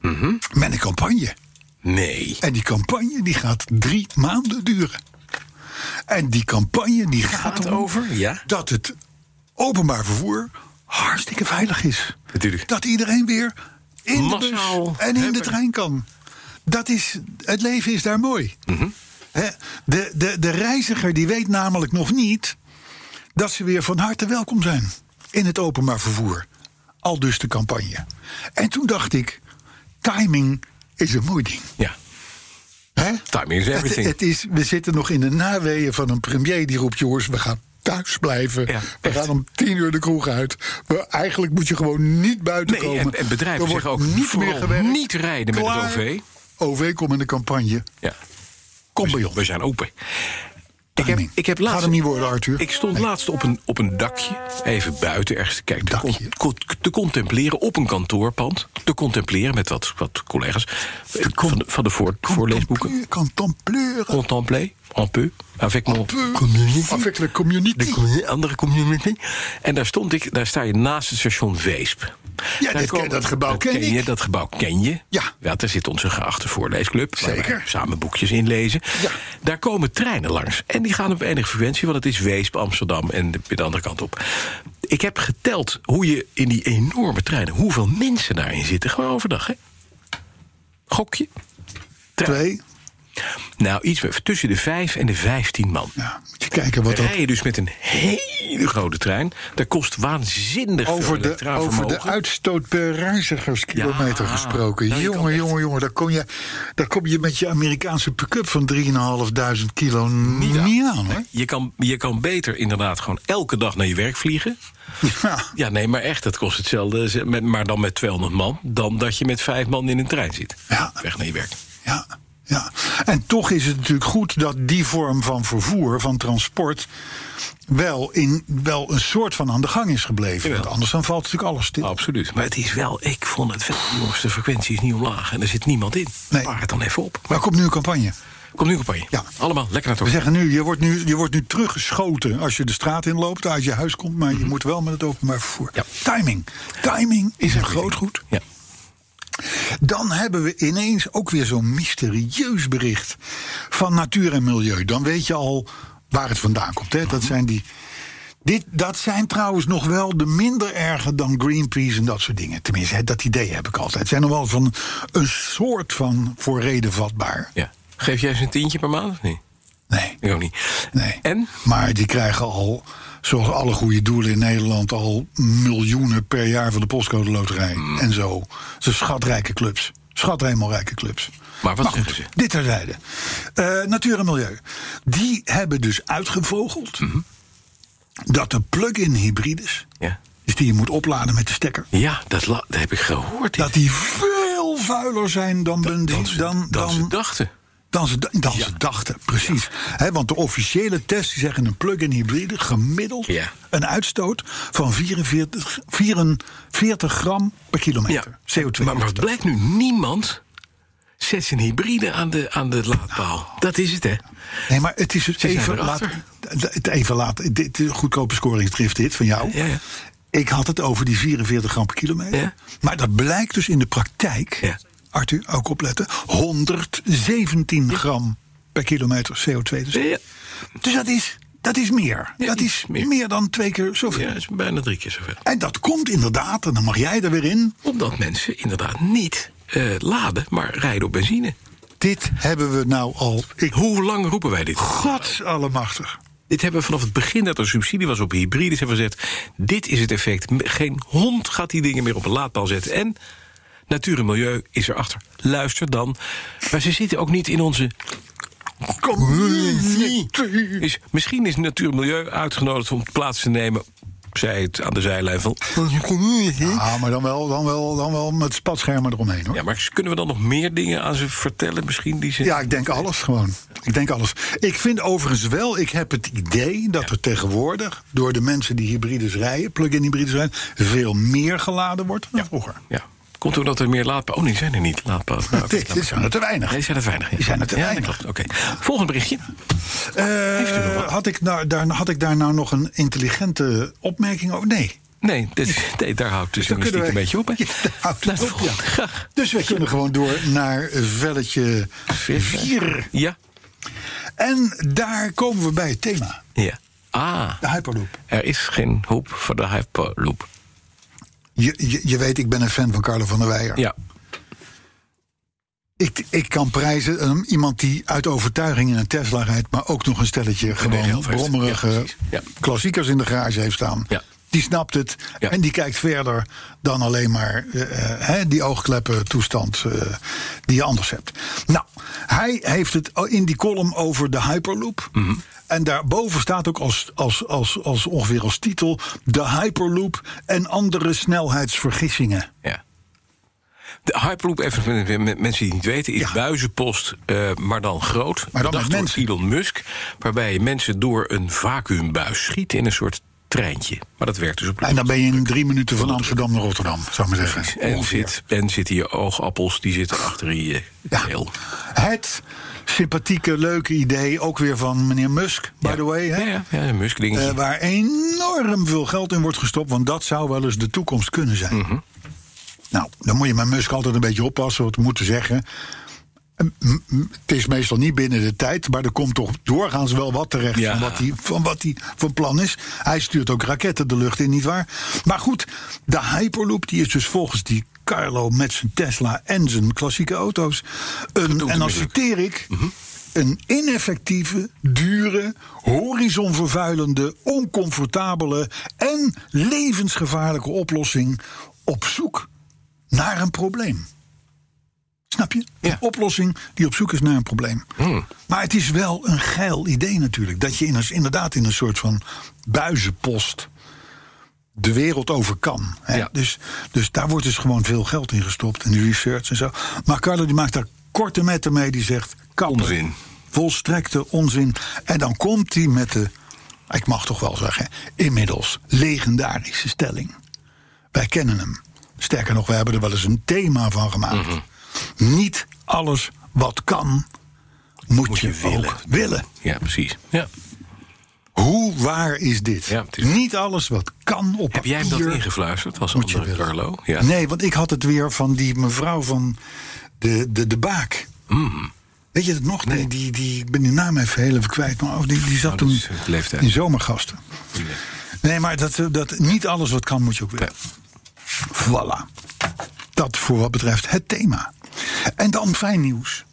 Mhm.
met een campagne.
Nee.
En die campagne die gaat drie maanden duren. En die campagne die gaat,
Gaat
erom
over, ja.
dat het openbaar vervoer hartstikke veilig is.
Natuurlijk.
Dat iedereen weer in de
Massaal
bus en in de
hebben.
trein kan. Dat is, het leven is daar mooi. Hè, de, de, de reiziger die weet namelijk nog niet dat ze weer van harte welkom zijn in het openbaar vervoer. Al dus de campagne. En toen dacht ik, timing is een mooi ding.
Ja.
Hè?
Timing is
Het,
everything.
het is, we zitten nog in de naweeën van een premier die roept: jongens, we gaan thuis blijven.
Ja,
we
echt.
gaan om tien uur de kroeg uit. We, eigenlijk moet je gewoon niet buiten
Nee,
komen.
en, en
Er
bedrijven
wordt
zeggen ook
niet meer
vooral
gewerkt.
niet rijden met
Klaar.
het OV.
OV komt in de campagne.
Ja.
Kom
We-
bij ons.
We zijn open. Ik heb,
Timing.
ik heb
Gaat
laatst,
hem niet worden, Arthur.
Ik stond laatst op een, op een dakje, even buiten ergens te kijken, te,
Dakje.
con- con- te contempleren op een kantoorpand. Te contempleren met wat, wat collega's eh, van de, van de voor, voorleesboeken.
Je kan dan pleuren.
Contempler, un peu, avec mon
peu.
community.
Avec de community.
De commu- andere community. En daar stond ik, daar sta je naast het station Weesp. Daar
dit ken- dat gebouw ken ik.
je, dat gebouw ken je.
Ja.
daar zit onze geachte voorleesclub. waar wij
Zeker.
samen boekjes inlezen.
Ja.
Daar komen treinen langs. En die gaan op enige frequentie, want het is Weesp, Amsterdam en de, de andere kant op. Ik heb geteld hoe je in die enorme treinen, hoeveel mensen daarin zitten. Gewoon overdag, hè? Gokje. Trein.
Twee,
Nou, iets met- tussen de 5 en de 15 man.
Ja, moet je kijken wat
Dan
dat
rij je dus met een hele grote trein. Dat kost waanzinnig veel
over de,
elektraal
over de
vermogen.
uitstoot per reizigerskilometer
Ja,
gesproken.
nou, je kan
jongen,
echt-
jongen, jongen, daar kom, je, daar kom je met je Amerikaanse pick-up van 3.500 kilo niet aan, hoor.
je, kan, je kan beter inderdaad gewoon elke dag naar je werk vliegen.
Ja.
Ja, nee, maar echt, dat kost hetzelfde. ze- met- Maar dan met 200 man. Dan dat je met vijf man in een trein zit.
Ja.
Weg naar je werk.
Ja, ja. En toch is het natuurlijk goed dat die vorm van vervoer, van transport, wel, in, wel een soort van aan de gang is gebleven.
Jawel. Oh.
Want anders dan valt natuurlijk alles stil.
Absoluut. Maar het is wel, ik vond het wel, jongens, de frequentie is niet omlaag. En er zit niemand in.
Nee.
Paar het dan even op.
Maar er komt nu een campagne.
Kom nu campagne.
Ja.
Allemaal lekker
We
naartoe.
zeggen nu je, wordt nu, je wordt nu teruggeschoten als je de straat inloopt, uit je huis komt, maar je moet wel met het openbaar vervoer.
Mhm. Ja.
Timing. Timing is een groot goed.
Ja.
Dan hebben we ineens ook weer zo'n mysterieus bericht van natuur en milieu. Dan weet je al waar het vandaan komt. Hè? Dat, zijn die, dit, dat zijn trouwens nog wel de minder erge dan Greenpeace en dat soort dingen. Tenminste, hè, dat idee heb ik altijd. Het zijn nog wel van een soort van voor reden vatbaar.
ja. Geef jij eens een tientje per maand of niet?
Nee.
Ik ook niet.
Nee.
En?
Maar die krijgen al, zoals alle goede doelen in Nederland, al miljoenen per jaar van de postcode loterij.
Hmm.
En zo. Ze schatrijke clubs. Schathemelrijke clubs.
Maar wat
goed,
zeggen ze?
Dit terzijde. Eh natuur en milieu. Die hebben dus uitgevogeld dat de plug-in hybrides,
Mhm. Ja.
dus die je moet opladen met de stekker,
Ja, dat, la- dat heb ik gehoord.
dat die veel vuiler zijn dan, dan,
dan,
dan,
ze-
dan,
dan ze dachten.
dan ze, dan ze dachten, precies. Hè, want de officiële tests die zeggen een plug-in hybride gemiddeld
Ja.
een uitstoot van 44, 44 gram per kilometer CO2.
Maar, maar het blijkt nu niemand zet zijn hybride aan de, aan de
Nou.
laadpaal. Dat is het, hè?
nee, maar het is het
zijn
even laat.
erachter.
Het even laat. Dit is een goedkope scoringsdrift dit van jou.
Ja, ja.
Ik had het over die 44 gram per kilometer.
Ja.
Maar dat blijkt dus in de praktijk,
Ja.
Arthur, ook opletten, 117 gram per kilometer CO2 te zetten.
Ja,
Dus dat is, dat is meer.
Ja,
dat
iets
is meer.
meer.
dan twee keer zoveel.
ja, dat is bijna drie keer zoveel.
En dat komt inderdaad, en dan mag jij er weer in.
Omdat mensen inderdaad niet eh, laden, maar rijden op benzine.
Dit hebben we nou al. Ik,
Hoe lang roepen wij dit?
godsallemachtig.
Dit hebben we vanaf het begin dat er subsidie was op hybrides hebben we gezegd... dit is het effect. M- Geen hond gaat die dingen meer op een laadpaal zetten. En natuur en milieu is erachter. Luister dan. Maar ze zitten ook niet in onze...
Community.
Is, misschien is natuur en milieu uitgenodigd om plaats te nemen... zij het aan de zijlijn van...
Ja, maar dan wel, dan wel, dan wel met spatschermen eromheen hoor.
Ja,
Ja,
maar kunnen we dan nog meer dingen aan ze vertellen misschien? Die ze...
ik denk alles gewoon. Ik denk alles. Ik vind overigens wel, ik heb het idee dat er tegenwoordig... door de mensen die hybrides rijden, plug-in hybrides rijden... veel meer geladen wordt dan vroeger.
Ja. Komt ook dat er meer laadpalen... Oh, nee, zijn er niet laadpalen. Nou, oké,
Dit dit zijn er te weinig.
Nee, zijn er weinig. Ja.
Die zijn er te
Ja,
weinig.
dat klopt. Oké. Volgend berichtje.
Eh,
u nog wat?
had, ik nou, daar, had ik daar nou nog een intelligente opmerking over? Nee.
Nee, dit, nee, daar houdt dus
Dan
journalistiek
kunnen
een beetje op, hè?
Ja, daar houdt
Nou,
het op, ja.
volgende. Graag.
Dus we kunnen gewoon door naar velletje 4.
Ja.
En daar komen we bij het thema.
Ja. Ah,
De Hyperloop.
er is geen hoop voor de Hyperloop.
Je, je, je weet, ik ben een fan van Carlo van der Weijer.
Ja.
Ik, ik kan prijzen ehm, iemand die uit overtuiging in een Tesla rijdt... maar ook nog een stelletje
de
gewoon
helft heeft.
brommerige
Ja, precies. Ja.
klassiekers in de garage heeft staan.
Ja.
Die snapt het
Ja.
en die kijkt verder dan alleen maar eh, eh, hè, die oogkleppen toestand eh, die je anders hebt. Nou, hij heeft het in die column over de Hyperloop.
Mhm.
En daarboven staat ook als, als, als, als ongeveer als titel... de Hyperloop en andere snelheidsvergissingen.
ja. De Hyperloop, even met, met- met mensen die het niet weten, is
Ja.
buizenpost, eh, maar dan groot.
met
Bedacht door
mensen.
Elon Musk, waarbij je mensen door een vacuümbuis schiet in een soort treintje. Maar dat werkt dus op
En dan ben je in drie minuten van Amsterdam naar Rotterdam, zou ik maar zeggen.
En,
Ongeveer.
zit, en zitten je oogappels, die zitten achter je
Ja.
keel.
Het sympathieke, leuke idee, ook weer van meneer Musk, by the way. Hè?
Ja, ja, ja, een musk
Eh, waar enorm veel geld in wordt gestopt, want dat zou wel eens de toekomst
Mhm.
kunnen zijn. Nou, dan moet je met Musk altijd een beetje oppassen wat we moeten zeggen. Eh, m- m- het is meestal niet binnen de tijd, maar er komt toch doorgaans wel wat terecht
Ja.
van, wat hij, van wat hij van plan is. Hij stuurt ook raketten de lucht in, nietwaar? Maar goed, de Hyperloop die is dus volgens die Carlo met zijn Tesla en zijn klassieke auto's een, en dan
middelijk.
citeer ik, een ineffectieve, dure, horizonvervuilende, oncomfortabele en levensgevaarlijke oplossing op zoek naar een probleem. Snap je?
Ja. Hmm.
Een oplossing die op zoek is naar een probleem. Maar het is wel een geil idee natuurlijk. Dat je in een, inderdaad in een soort van buizenpost de wereld over kan. Hè?
Ja.
Dus, dus daar wordt dus gewoon veel geld in gestopt. En die research en zo. Maar Carlo die maakt daar korte metten mee. Die zegt, kappen.
Onzin.
Volstrekte onzin. En dan komt hij met de, ik mag toch wel zeggen... inmiddels legendarische stelling. Wij kennen hem. Sterker nog, we hebben er wel eens een thema van gemaakt.
Mhm.
Niet alles wat kan, moet, je, willen. ook willen.
Ja, precies. Ja.
Hoe waar is dit?
Ja, het is-
Niet alles wat kan op
Heb jij hem dat
papier
ingefluisterd als
moet je
andere
willen.
Carlo? Ja.
Nee, want ik had het weer van die mevrouw van de, de, de Baak.
Mm.
Weet je dat nog? Die, die, die, ik ben die naam even heel even kwijt. Maar oh, die, die zat
Oh, dat
toen
is, eh, leeftijd.
in zomergasten. Nee, maar dat, eh, dat, niet alles wat kan moet je ook willen. Voilà. Dat voor wat betreft het thema. En dan fijn nieuws.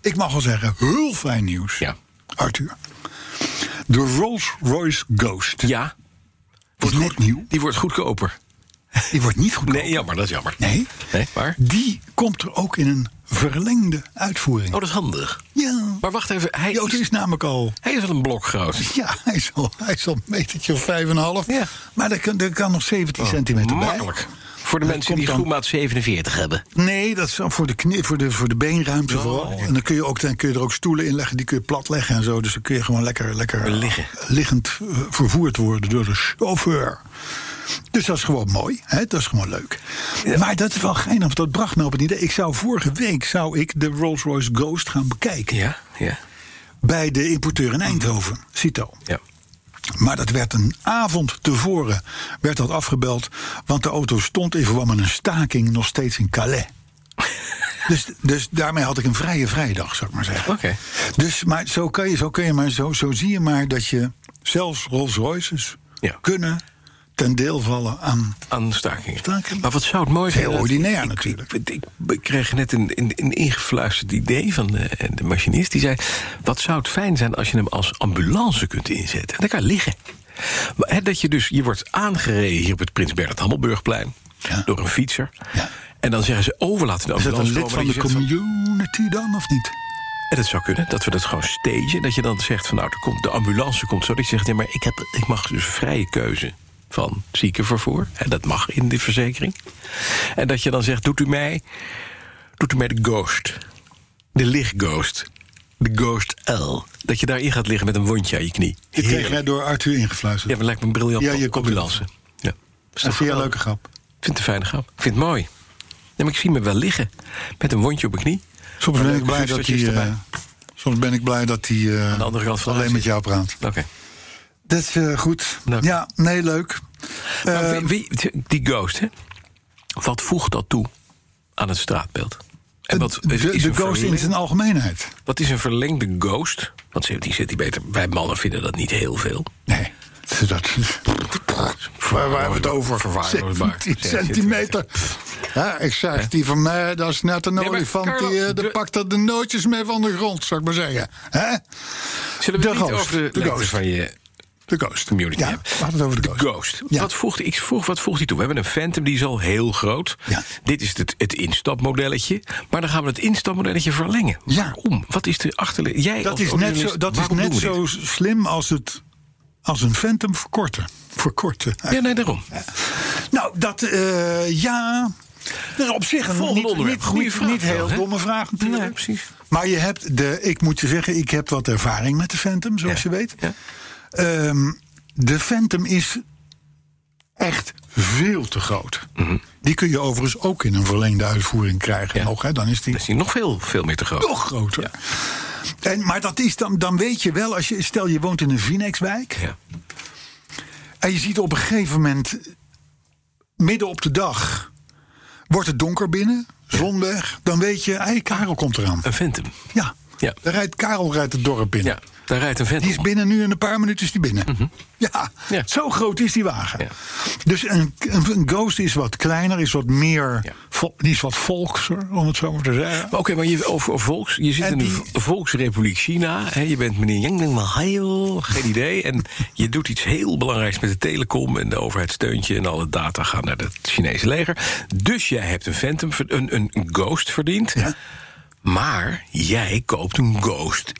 Ik mag wel zeggen, heel fijn nieuws.
Mhm. Ja.
Arthur. De Rolls-Royce Ghost.
Ja,
Wordt net nieuw.
die wordt goedkoper.
Die wordt niet goedkoop.
Nee, jammer, dat is jammer. Oh,
Nee.
Nee, maar?
Die komt er ook in een verlengde uitvoering.
Oh, dat is handig.
ja.
Maar wacht even, hij
Die auto
is,
is namelijk al.
hij is al een blok groot.
Ja, hij is al, hij is al een metertje of 5,5.
Ja. Oh,
Maar er kan, er kan nog 17 centimeter bij.
Makkelijk. Voor de
Dat
mensen
komt
die
dan-
schoenmaat 47 hebben.
Nee, dat is dan voor de, knie, voor de, voor de
Oh.
beenruimte. Vooral. En dan kun, je ook, dan kun je er ook stoelen in leggen, die kun je plat leggen en zo. Dus dan kun je gewoon lekker, lekker
Liggen.
liggend eh, vervoerd worden door de chauffeur. Dus dat is gewoon mooi, hè? dat is gewoon leuk. Maar dat is wel geinig, want dat bracht me op het idee. Ik zou vorige week zou ik de Rolls-Royce Ghost gaan bekijken.
Ja, Mhm. ja,
Bij de importeur in Eindhoven, Cito.
ja.
Maar dat werd een avond tevoren werd dat afgebeld. Want de auto stond in verband met een staking nog steeds in Calais. dus, dus daarmee had ik een vrije vrijdag, zou ik maar zeggen.
Oké.
Dus maar zo, kan je, zo, kun je maar, zo, zo zie je maar dat je zelfs Rolls Royces
Ja.
kunnen ten deel vallen aan.
Aan stakingen.
Stakingen.
Maar wat zou het mooi zijn...
Heel
dat-
ordinair
ik-
natuurlijk.
Ik, ik, ik kreeg net een, een, een ingefluisterd idee van de, de machinist. Die zei, wat zou het fijn zijn als je hem als ambulance kunt inzetten. Dan kan je liggen. Maar, hè, dat je dus, je wordt aangereden hier op het Prins Bernhard Hammelburgplein.
Ja.
Door een fietser.
Ja.
En dan zeggen ze, oh, we laten de
Is dat
ambulance
een lid
komen.
van
En
de
je zegt van,
community dan of niet?
En dat zou kunnen, dat we dat gewoon stagen. Dat je dan zegt van nou, er komt, de ambulance komt zo. Dat je zegt, nee, maar ik, heb, ik mag dus vrije keuze van ziekenvervoer. En dat mag in de verzekering. En dat je dan zegt, doet u mij, doet u mij de ghost. De lichtghost. De ghost L. Dat je daarin gaat liggen met een wondje aan je knie.
Dit kreeg
Heerlijk.
jij door Arthur ingefluisterd.
Ja, maar lijkt me een briljant
Ja, je komt-
ambulance. Ja. Is
dat
toch
vind je een
geweldig?
leuke grap.
Ik vind het een fijne grap. Ik vind het mooi. Nee, maar ik zie me wel liggen met een wondje op mijn knie.
Soms ben
Leuke
ik blij dat hij.
zustertjes erbij.
eh, Soms ben ik blij dat hij eh,
de andere kant van de
alleen met
zit.
jou praat.
Oké.
Dat is eh, goed.
Leuk.
Ja, nee, leuk.
Maar
Ehm,
wie, wie- die ghost, hè? Wat voegt dat toe aan het straatbeeld? En wat
de
is, is
de
een
ghost in
verleng-
zijn algemeenheid.
Wat is een verlengde ghost? Want 17 centimeter, wij mannen vinden dat niet heel veel.
Nee. Dat, waar hebben we het over?
Verwaarloosbaar.
17 centimeter. Ja, ik zeg, die van mij, dat is net een
Nee, maar
olifant.
Carlo,
die eh, die
de-
pakt er de nootjes mee van de grond, zou ik maar zeggen. Hè?
Zullen we
De
het niet
ghost,
over de,
de
lengte
ghost.
van je
De ghost.
community
Ja,
hebben?
we hadden het over de ghost.
Ghost.
Ja.
Wat, voegt, ik vroeg, wat voegt die toe? We hebben een Phantom, die is al heel groot.
Ja.
Dit is het, het instapmodelletje. Maar dan gaan we het instapmodelletje verlengen.
Ja.
Waarom? Wat is de achterliggende... Jij
Dat
als
is net
journalist,
zo, dat is
waarom
net
doen we dit?
zo slim als, het, als een Phantom verkorten. Verkorten.
Ja, nee, daarom.
Nou, dat, eh, ja... Dat is op zich een
Volgende
niet,
onderwerp.
niet-
Goeie
niet-
vraag
niet
wel,
heel
hè?
domme vraag natuurlijk.
Nee, precies.
Maar je hebt de, ik moet je zeggen, ik heb wat ervaring met de Phantom, zoals
Ja,
je weet.
ja.
Ehm, de Phantom is echt veel te groot. Die kun je overigens ook in een verlengde uitvoering krijgen.
Mhm. Ja.
Nog, hè, dan is die
Dan is die nog veel, veel meer te groot.
nog groter. En, maar dat is dan, dan weet je wel, als je, stel je woont in een Vinex-wijk.
Ja.
En je ziet op een gegeven moment, midden op de dag, wordt het donker binnen. Zonweg, dan weet je, hey, Karel komt eraan.
Een Phantom.
Ja,
Ja.
Daar rijdt, Karel rijdt het dorp binnen.
Ja, daar rijdt een
Die
Phantom.
is binnen nu in een paar minuten is die binnen. ja,
Mhm. Ja.
zo groot is die wagen.
Ja.
Dus een, een, een Ghost is wat kleiner, is wat meer,
Ja.
vol- die is wat volkser, om het zo maar te zeggen.
Maar Oké, maar je, over over volks, je zit
En
in de
die-
v- Volksrepubliek China. Hè, je bent meneer Yang Dengmahio, geen idee. En je doet iets heel belangrijks met de telecom en de overheid steunt je... en alle data gaan naar het Chinese leger. Dus jij hebt een Phantom, ver- een, een Ghost verdiend.
Ja.
Maar jij koopt een Ghost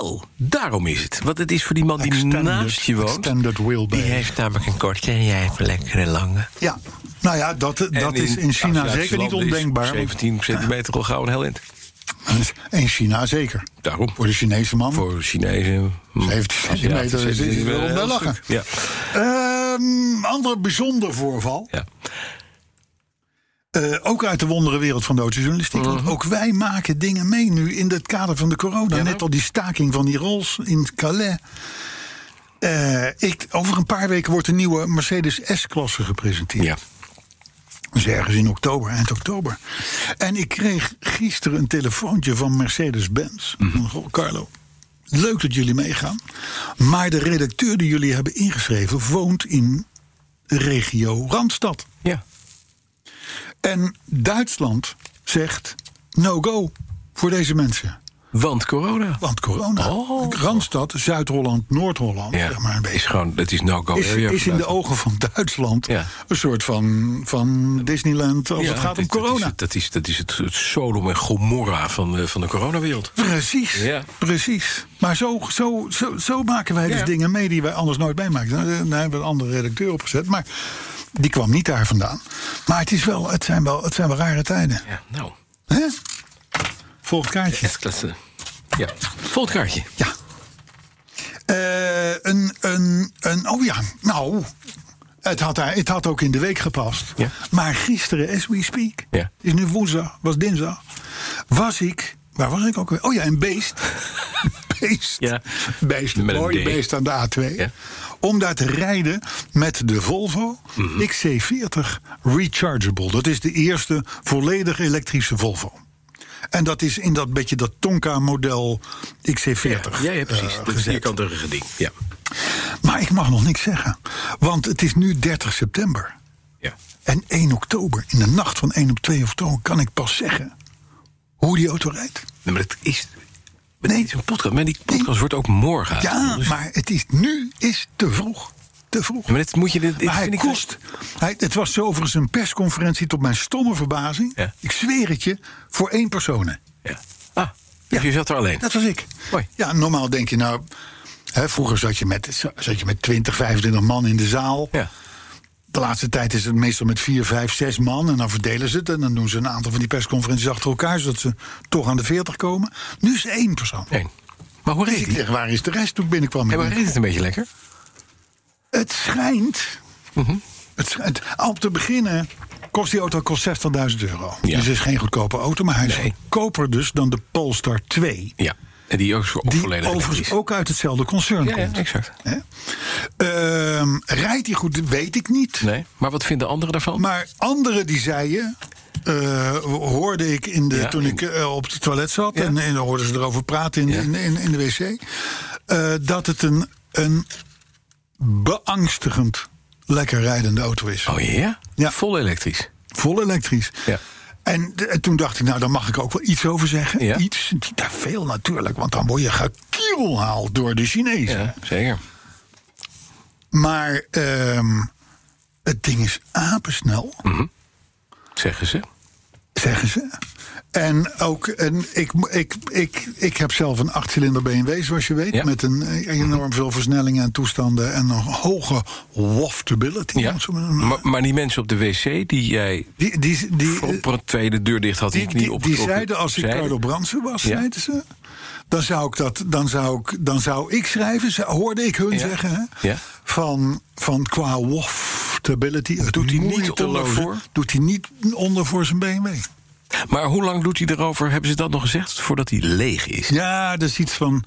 L. Daarom is het. Want het is voor die man die
Extended-
naast je woont.
extended wheelbase.
Die heeft namelijk een korte en jij hebt een lekkere lange.
Ja, nou ja, dat, dat
En
is in China zeker niet
Aziatische landen is
ondenkbaar. want-
17 centimeter al gauw een heel eind.
In China zeker.
Daarom.
Voor de Chinese man.
Voor Chinezen. mm,
70 centimeter
Aziatische
is- is- is wel
heel
om bij lachen.
stuk. Ja.
Ehm, ander bijzonder voorval.
ja.
Eh, ook uit de wondere wereld van de autojournalistiek. Want ook wij maken dingen mee nu in het kader van de corona. Net al die staking van die Rolls in Calais. Eh, ik, over een paar weken wordt de nieuwe Mercedes S-klasse gepresenteerd.
ja.
Dus ergens in oktober, eind oktober. En ik kreeg gisteren een telefoontje van Mercedes-Benz. Van, "Goh, Carlo, leuk dat jullie meegaan. Maar de redacteur die jullie hebben ingeschreven woont in regio Randstad.
Ja.
En Duitsland zegt no go voor deze mensen.
Want corona.
Want corona.
Oh.
Randstad, Zuid-Holland, Noord-Holland.
Ja.
Zeg maar een
is
beetje.
gewoon, het is no-go
Is,
area.
is in de ogen van Duitsland
Ja.
een soort van, van Disneyland als
Ja,
het gaat om
dit- dat is
corona.
het- Dat is, dat is, het, het Sodom en Gomorra van, de- van de coronawereld.
Precies,
Ja.
precies. Maar zo, zo, zo, zo maken wij dus
Ja.
dingen mee die wij anders nooit meemaakten. Nou, daar hebben we een andere redacteur opgezet, maar die kwam niet daar vandaan. Maar het, is wel, het, zijn, wel, het zijn wel rare tijden.
Ja, nou.
Hè? Volgend kaartje.
S-klasse. Ja. Volgend kaartje.
Ja. Eh, een, een, een, oh ja, nou, het had, daar- het had ook in de week gepast.
Ja.
Maar gisteren, as we speak,
Ja.
het is nu woensdag, was dinsdag, was ik, waar was ik ook weer? Oh ja, een beest. beest.
Ja.
Beest,
Met een
mooi
D.
beest aan de A2.
Ja.
Om daar te rijden met de Volvo
Mhm.
XC40 Rechargeable. Dat is de eerste volledig elektrische Volvo. En dat is in dat beetje dat Tonka-model XC40.
Ja, ja, precies.
eh,
dat is
gezet.
vierkantige ding. Ja.
Maar ik mag nog niks zeggen. Want het is nu 30 september.
ja.
En 1 oktober, in de nacht van 1 op 2 oktober, kan ik pas zeggen hoe die auto rijdt.
Nee, maar dat is...
Nee.
Nee. is een podcast. Maar die podcast wordt ook morgen
Ja,
uitgezonden, dus-
maar het is, nu is te vroeg. Te vroeg.
Maar dit moet je... Dit, dit
Maar hij
vind ik-
kost. Hij, het was zo overigens een persconferentie tot mijn stomme verbazing.
Ja.
Ik zweer het je, voor één persoon.
Ja. Ah, dus je zat er alleen.
Dat was ik.
Hoi.
Ja, normaal denk je nou. Hè, vroeger zat je, met, zat je met 20, 25 man in de zaal.
Ja.
De laatste tijd is het meestal met vier, vijf, zes man. En dan verdelen ze het. En dan doen ze een aantal van die persconferenties achter elkaar. Zodat ze toch aan de 40 komen. Nu is het één persoon.
Nee. Maar hoe
Dus
reed
ik
hij?
zeg, waar is de rest toen ik binnenkwam?
Hey, maar reed het een beetje lekker?
Het schijnt.
Mhm.
Het schijnt. Al om te beginnen kost die auto kost 60.000 euro.
Ja.
Dus het is geen goedkope auto, maar hij is
Nee.
goedkoper dus dan de Polestar 2.
Ja. En die ook, ook
Die
volledig
overigens
elektrisch.
ook uit hetzelfde concern
Ja, ja,
komt.
exact.
Hè? Ehm, rijdt hij goed? Weet ik niet.
Nee. Maar wat vinden anderen daarvan?
Maar anderen die zeiden. eh, hoorde ik in de,
Ja,
toen
in-
ik eh, op het toilet zat.
Ja.
En, en hoorden ze erover praten in,
Ja.
in, in, in de wc. eh, dat het een, een beangstigend lekker rijdende auto is.
Oh ja?
Ja.
Vol elektrisch.
Vol elektrisch.
Ja.
En de- en toen dacht ik, nou, daar mag ik ook wel iets over zeggen.
Ja.
Iets, niet daar veel natuurlijk, want dan word je gekielhaald door de Chinezen.
Ja, zeker.
Maar ehm, het ding is apensnel.
Zeggen ze.
zeggen ze. En ook, en ik, ik, ik, ik heb zelf een achtcilinder BMW, zoals je weet.
Ja.
Met een eh, enorm veel versnellingen en toestanden. En een hoge waftability.
Ja. Maar, maar die mensen op de wc die jij
Die, die, die, eh,
op tweede deur dicht had, die,
die,
knie
die, die
opgetrokken,
zeiden als ik Carlo Bransen was,
Ja.
zeiden ze. Dan zou ik dat, dan zou ik, dan zou ik schrijven, ze- hoorde ik hun
Ja.
zeggen. Hè,
Ja.
Van, van qua waftability. Het
Doet hij niet
moeiteloze-
onder voor?
Doet hij niet onder voor zijn BMW.
Maar hoe lang doet hij erover? Hebben ze dat nog gezegd? Voordat hij leeg is.
Ja, dat is iets van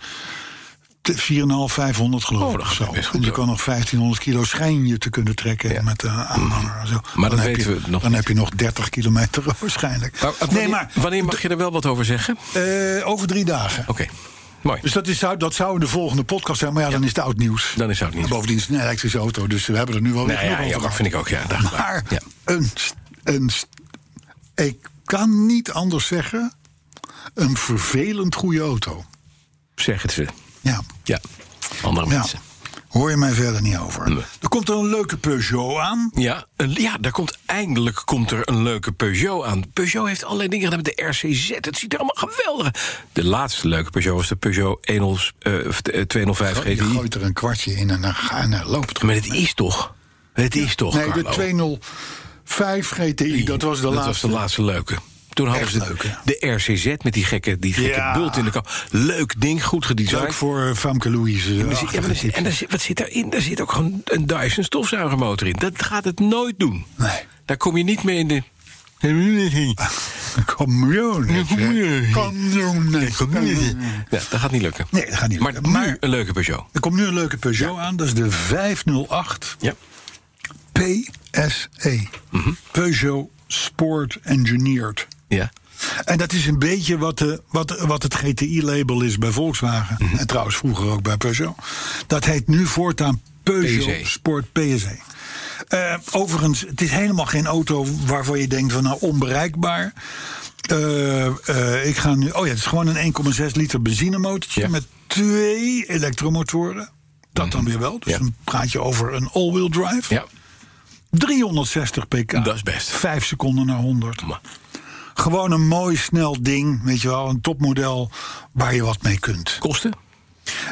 4,5, 500 geloof
Oh,
ik.
dat
of
gaat
zo.
best goed
En je
door.
kan nog 1500 kilo schijn je te kunnen trekken
Ja. Mm.
met de aanhanger. en Zo.
Maar dat
dan heb
weten
je,
we nog
Dan
niet.
heb je nog 30 kilometer waarschijnlijk.
Maar, eh, wanneer,
nee, maar
wanneer mag je er wel wat over zeggen? Oké,
eh, over drie dagen.
mooi.
Dus dat, is, zou- dat zou in de volgende podcast zijn, maar ja, dan is het oud nieuws.
Dan is het oud nieuws.
En bovendien is het een elektrische auto, dus we hebben er nu wel weer
Nou
genoeg
ja,
over
ja,
gehad.
vind ik ook, ja. dag.
Maar
Ja.
een, st- een, st- ik kan niet anders zeggen, een vervelend goede auto.
Zeg het ze.
Ja,
Ja, andere
ja.
mensen.
hoor je mij verder niet over.
Nee.
Er komt er een leuke Peugeot aan.
Ja, een, ja, daar komt eindelijk komt er een leuke Peugeot aan. Peugeot heeft allerlei dingen gedaan met de RCZ. Het ziet er allemaal geweldig uit. De laatste leuke Peugeot was de Peugeot 10, eh, of de, eh, 205
Je
GTI.
gooit er een kwartje in en dan, ga, en dan loopt het.
Maar het is toch? Het is toch,
Nee,
Carlo?
de 205 GTI, dat was de laatste.
was de laatste leuke. Toen hadden
Echt
ze
leuk, hè?
de RCZ met die gekke, die gekke
Ja.
bult in de kap. Leuk ding, goed gedesigned.
Leuk voor eh, Famke Louise.
Maar er zit- ja, maar er
achtige
zit-
type.
en daar zit- wat zit daarin? Daar zit ook gewoon een Dyson stofzuigermotor in. Dat gaat het nooit doen.
Nee.
Daar kom je niet mee in de... Ja,
Community.
Community.
Community.
dat gaat niet lukken.
Nee, dat gaat niet
Maar,
lukken.
nu
Maar-
een leuke Peugeot.
Er komt nu een leuke Peugeot aan. Dat is de 508
Ja.
PSE. E. Peugeot Sport Engineered.
ja.
En dat is een beetje wat, de, wat, wat het GTI-label is bij Volkswagen.
Mhm.
En trouwens vroeger ook bij Peugeot. Dat heet nu voortaan Peugeot
PSE.
Sport PSE. Eh, overigens, het is helemaal geen auto waarvan je denkt van nou onbereikbaar. Eh, eh, ik ga nu. Oh ja, het is gewoon een 1,6 liter benzinemotortje
Ja. Mhm.
met twee elektromotoren. Dat dan weer wel. Dus
Ja.
dan praat je over een all-wheel drive.
ja.
360 pk.
Dat is best.
Vijf seconden naar 100.
Maar-
Gewoon een mooi snel ding, weet je wel, een topmodel waar je wat mee kunt.
Kosten?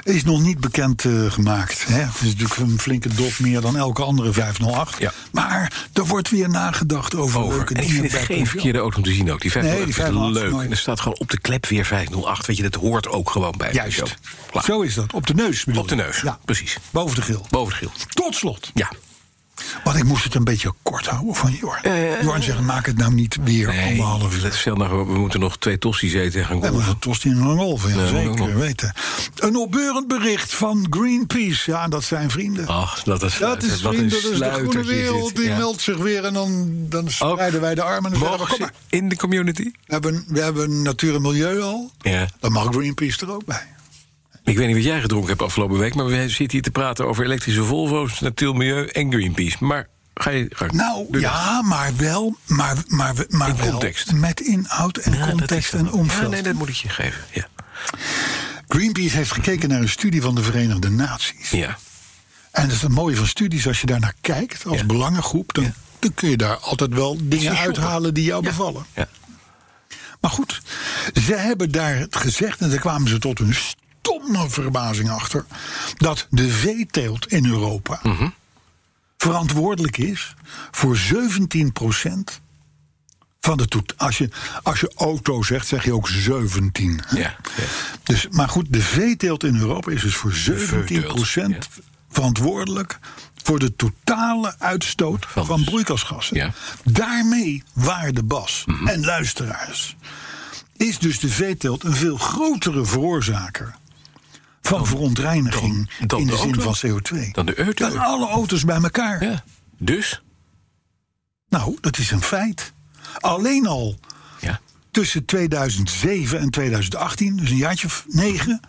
Is nog niet bekend eh, gemaakt. Hè? Het is natuurlijk een flinke dop meer dan elke andere 508.
Ja.
Maar er wordt weer nagedacht over,
Over.
leuke
En ik
dingen.
vind het
bij
geen
Peugeot.
verkeerde auto om te zien ook. Die 508
die
is
508 is
leuk.
mooi.
En er staat gewoon op de klep weer 508. Weet je, dat hoort ook gewoon bij
Juist.
Peugeot. Klaar.
Zo is dat. Op de neus bedoel
Op de
je?
neus,
Ja.
precies.
Boven de gril.
Boven het gild.
Tot slot.
Ja.
Want ik moest het een beetje kort houden van Jorn.
Eh.
Jorn zegt, maak het nou niet weer anderhalf uur.
Let- Stel nou, we moeten nog twee tossies eten en gaan
We hebben
golven.
een tosti in een rol, ja,
Ja, dat
zeker
klopt.
weten. Een opbeurend bericht van Greenpeace. Ja, dat zijn vrienden.
Ach, Oh, dat is,
Dat is
wat
vrienden,
een
dat is de groene
sluitertje is
wereld.
dit.
Die
Ja.
meldt zich weer en dan, dan
Ook
spreiden wij de armen. En dan zeggen we, kom
mogen ze
maar.
in de community?
We hebben, we hebben natuur en milieu al.
Ja.
Dan mag Greenpeace er ook bij.
Ik weet niet wat jij gedronken hebt afgelopen week... maar we zitten hier te praten over elektrische Volvo's, natuur, milieu en Greenpeace. Maar ga je gang.
Nou,
Doe dat.
ja, maar wel, maar, maar, maar
In
wel
context.
met inhoud en
Ja, dat is
context
het.
en
Ja,
omveld.
nee, dat moet ik je geven. Ja.
Greenpeace heeft gekeken naar een studie van de Verenigde Naties.
ja.
En dat is het mooie van studies, als je daarnaar kijkt als
Ja.
belangengroep... Dan, dan kun je daar altijd wel dingen
shoppen.
uithalen die jou bevallen.
ja.
Maar goed, ze hebben daar het gezegd en daar kwamen ze tot hun stomme verbazing achter... dat de veeteelt in Europa
Mhm.
verantwoordelijk is voor 17 van de toet. Als je, als je auto zegt, zeg je ook 17. hè?
Ja, ja.
Dus, maar goed, de veeteelt in Europa is dus voor 17
veeteelt,
verantwoordelijk... voor de totale uitstoot
Van- dus-
van, broeikasgassen.
Ja. Mhm.
Daarmee, waarde Bas en luisteraars... is dus de veeteelt een veel grotere veroorzaker... van verontreiniging
dan- dan
in de,
de
zin
auto?
van CO2.
Dan de auto?
Dan alle auto's bij elkaar.
ja. Dus?
Nou, dat is een feit. Alleen al
Ja.
tussen 2007 en 2018, dus een jaartje of 9,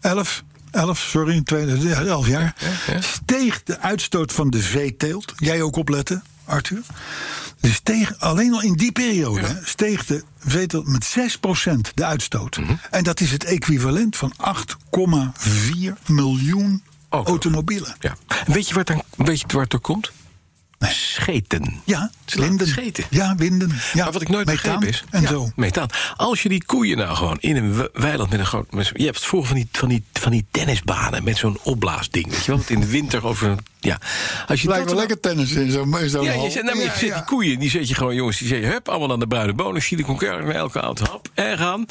11, 11, sorry, 2011 jaar, steeg de uitstoot van de veeteelt. Jij ook opletten, Arthur. Dus steeg, alleen al in die periode hè, steeg de veeteelt met 6% de uitstoot.
Mhm.
En dat is het equivalent van 8,4 miljoen
Auto's.
automobielen.
ja. En Weet je waar het, aan- weet je waar het door komt?
Nee.
Scheten.
Ja,
Ze laten
winden.
scheten.
Ja, winden. Ja,
maar wat ik nooit
methaan
begreep is...
En
ja,
zo.
Methaan. Als je die koeien nou gewoon in een we- weiland met een groot... met- je hebt het vroeger van die, van die, van die tennisbanen met zo'n opblaasding. Weet je wel, dat in de winter over... een- Ja, als je
Lijkt
dat
wel lekker tennis in zo'n in zo'n
Ja,
hal.
je zet, nou, maar je
Ja,
zet
ja.
die koeien, die zet je gewoon, jongens, die zet je hup, allemaal aan de bruine bonen, chili con carne, naar elke auto, hap, en gaan.